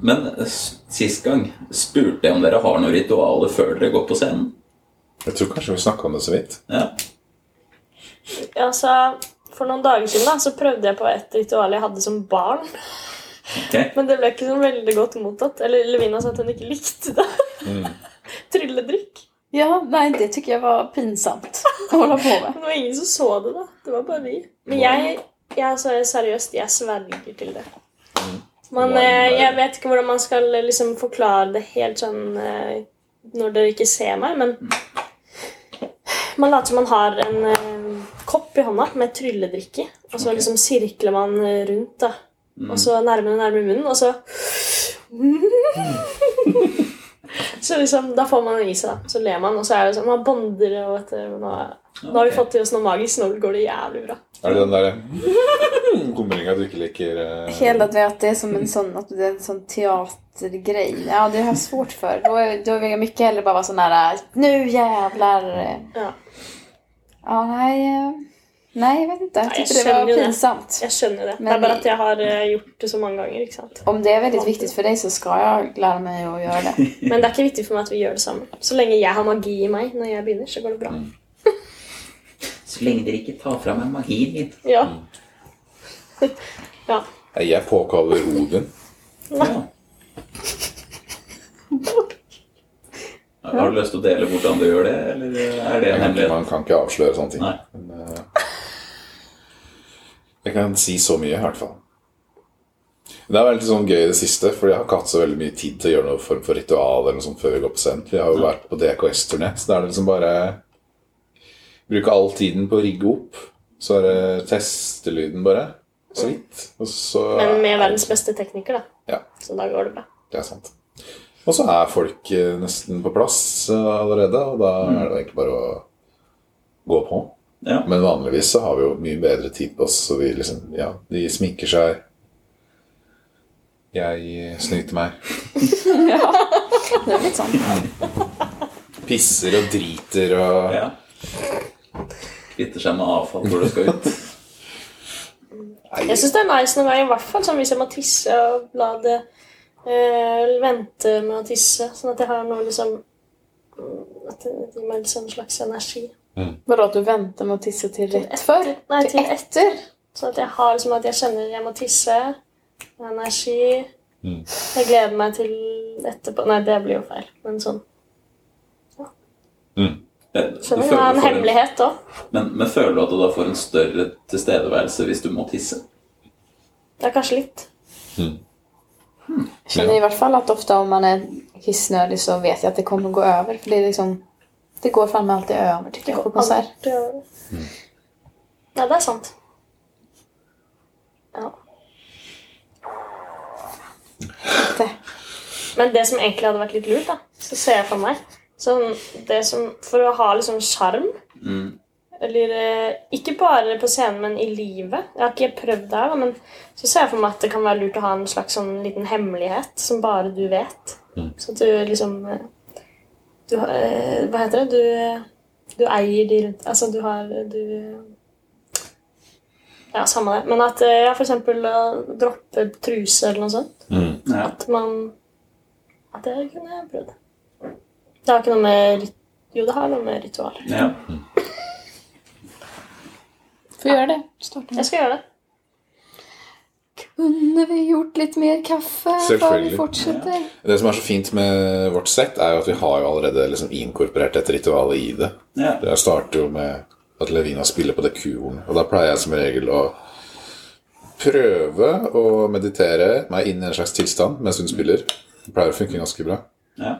[SPEAKER 1] Men eh, s- sist gang spurte jeg om dere har noen ritualer før dere går på scenen.
[SPEAKER 3] Jeg tror kanskje vi snakka om det så vidt.
[SPEAKER 1] Ja.
[SPEAKER 2] Altså, for noen dager siden da, så prøvde jeg på et ritual jeg hadde som barn.
[SPEAKER 1] ok.
[SPEAKER 2] Men det ble ikke sånn veldig godt mottatt. Eller Levina sa at hun ikke likte det. Trylledrikk.
[SPEAKER 5] Ja, nei, det tycker jag var pinsamt att hålla på med.
[SPEAKER 2] Men det var ingen som så det, da. Det var bare vi. Men jeg, jeg altså, seriøst, jeg sverger til det. Man,
[SPEAKER 1] Wow.
[SPEAKER 2] eh, jeg vet ikke hvordan man skal eh, liksom, forklare det helt sånn eh, når dere ikke ser meg, men man later som man har en eh, kopp i hånda med trylledrikke, og så liksom sirkler man eh, rundt, da. Og så nærmere og nærmere munnen, og så Så liksom, da får man i seg, da. Så ler man, og så er det sånn Man bonder og vet du, nå, nå har vi fått til oss noe magisk, nå går det jævlig bra.
[SPEAKER 3] Er det den derre humringa du ikke liker? eh?
[SPEAKER 5] Hela att det är som en sån, att det är en sån teatergrej. Ja, det har jag svårt för. Då, är- då vill jag mycket hellre bara vara sån här, nu jävlar.
[SPEAKER 2] Ja.
[SPEAKER 5] Ja, nej. eh, Nej, jag vet inte. Jag
[SPEAKER 2] Nej, jag
[SPEAKER 5] tyckte det var
[SPEAKER 2] känner ju det.
[SPEAKER 5] pinsamt.
[SPEAKER 2] Jeg skjønner det. det
[SPEAKER 5] Men-
[SPEAKER 2] er bare at jeg har eh, gjort det så mange ganger. ikke sant?
[SPEAKER 5] Om det är väldigt viktigt för dig så ska jag lära mig att göra det.
[SPEAKER 2] Men det er ikke viktig for meg at vi gjør det sammen. Så lenge jeg har magi i meg når jeg begynner, så går det bra.
[SPEAKER 1] Mm. Så lenge dere ikke tar fra meg magien min.
[SPEAKER 2] Ja.
[SPEAKER 1] Mm.
[SPEAKER 2] ja.
[SPEAKER 3] Nei, Jeg påkaller Odin.
[SPEAKER 1] Ja. Har du lyst til å dele hvordan du gjør det, eller er det en hemmelighet?
[SPEAKER 3] Man kan ikke avsløre sånne ting.
[SPEAKER 1] Nei.
[SPEAKER 3] Men, eh, jeg kan si så mye, i hvert fall. Det er veldig sånn gøy i det siste, for jeg har ikke hatt så veldig mye tid til å gjøre noe form for ritual eller noe sånt før vi går på scenen. For jeg har jo vært på DKS-turné, så da er det liksom bare Bruke all tiden på å rigge opp. Så er det testelyden, bare. Så vidt. Og så
[SPEAKER 2] Men med verdens beste tekniker, da.
[SPEAKER 3] Ja.
[SPEAKER 2] Så da går det bra.
[SPEAKER 3] Det er sant. Og så er folk eh, nesten på plass eh, allerede, og da er det egentlig bare å gå på.
[SPEAKER 1] Mm. Ja.
[SPEAKER 3] Men vanligvis så har vi jo mye bedre tid på oss, så vi liksom Ja, de sminker seg. Jeg snyter meg.
[SPEAKER 5] Det sånn. är lite sånt.
[SPEAKER 3] Pisser og driter og
[SPEAKER 1] Ja. Kvitter seg med avfall hvor det skal ut.
[SPEAKER 3] Nei,
[SPEAKER 2] Jeg syns det er nice noen ganger, i hvert fall sånn hvis jeg må tisse og la det eh, vente med å tisse, sånn at jeg har noe liksom mm, At det gir meg liksom en slags energi.
[SPEAKER 5] Vadå at du venter med å tisse til rett før?
[SPEAKER 2] Nei,
[SPEAKER 5] Til
[SPEAKER 2] til
[SPEAKER 5] etter?
[SPEAKER 2] Sånn at jeg har liksom at jeg kjenner jeg må tisse. jeg har Energi.
[SPEAKER 3] Mm.
[SPEAKER 2] Jeg gleder meg til etterpå. Nei, det blir jo feil, men sånn.
[SPEAKER 1] Men, du
[SPEAKER 2] Skjønner du? Det
[SPEAKER 1] føler
[SPEAKER 2] er
[SPEAKER 1] du
[SPEAKER 2] en
[SPEAKER 1] får en-
[SPEAKER 2] hemmelighet òg.
[SPEAKER 1] men, men føler du at du da får en større tilstedeværelse hvis du må tisse?
[SPEAKER 2] Det er kanskje litt.
[SPEAKER 5] Jeg kjenner i hvert fall at ofte om man er kissnödig så vet jag att det kommer gå över. För det är liksom, det går fan med alltid över tycker jag på konsert.
[SPEAKER 2] Aldri gjør det. Nei, det er sant. Ja.
[SPEAKER 5] Det.
[SPEAKER 2] Men det som egentlig hadde vært litt lurt, da, så ser jeg for meg sånn, det som, For å ha liksom sjarm
[SPEAKER 1] Mm.
[SPEAKER 2] eller eh, Ikke bare på scenen, men i livet. Jeg har ikke prøvd det her, da, men så ser jeg for meg at det kan være lurt å ha en slags sånn liten hemmelighet som bare du vet. Så at du liksom eh, du, har- eh, Hva heter det? Du, du eier de rundt Altså, du har Du Ja, samme det. Men at eh, ja, for eksempel å droppe truse eller noe sånt.
[SPEAKER 3] Mm.
[SPEAKER 1] Ja.
[SPEAKER 2] At man At det kunne jeg prøvd. Det har ikke noe med rit- Jo, det har noe med ritual.
[SPEAKER 1] ja.
[SPEAKER 5] Får göra det. Starta.
[SPEAKER 2] Jeg skal gjøre det.
[SPEAKER 5] Kunde vi gjort lite mer kaffe? För
[SPEAKER 3] Selvfølgelig.
[SPEAKER 5] vi fortsätter.
[SPEAKER 3] Det som er så fint med vårt sett, er jo at vi har jo allerede liksom inkorporert dette ritualet i det.
[SPEAKER 1] ja.
[SPEAKER 3] Jeg starter jo med at Levina spiller på det kuhornet, og da pleier jeg som regel å prøve å meditere meg inn i en slags tilstand mens hun spiller. Det pleier å funke ganske bra.
[SPEAKER 1] ja.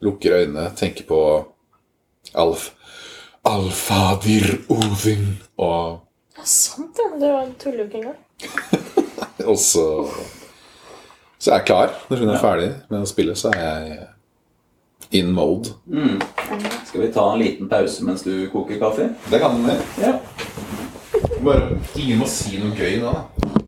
[SPEAKER 3] Lukker øynene, tenker på Alf Alfadir Odin og
[SPEAKER 2] Det er sant, ja. Du tuller jo ikke engang.
[SPEAKER 3] Og så Så er jeg klar. Når hun er ferdig med å spille, så er jeg in mode.
[SPEAKER 1] Skal vi ta en liten pause mens du koker kaffe?
[SPEAKER 3] Det kan hun gjøre.
[SPEAKER 1] Ja.
[SPEAKER 3] Bare ingen må si noe gøy nå, da.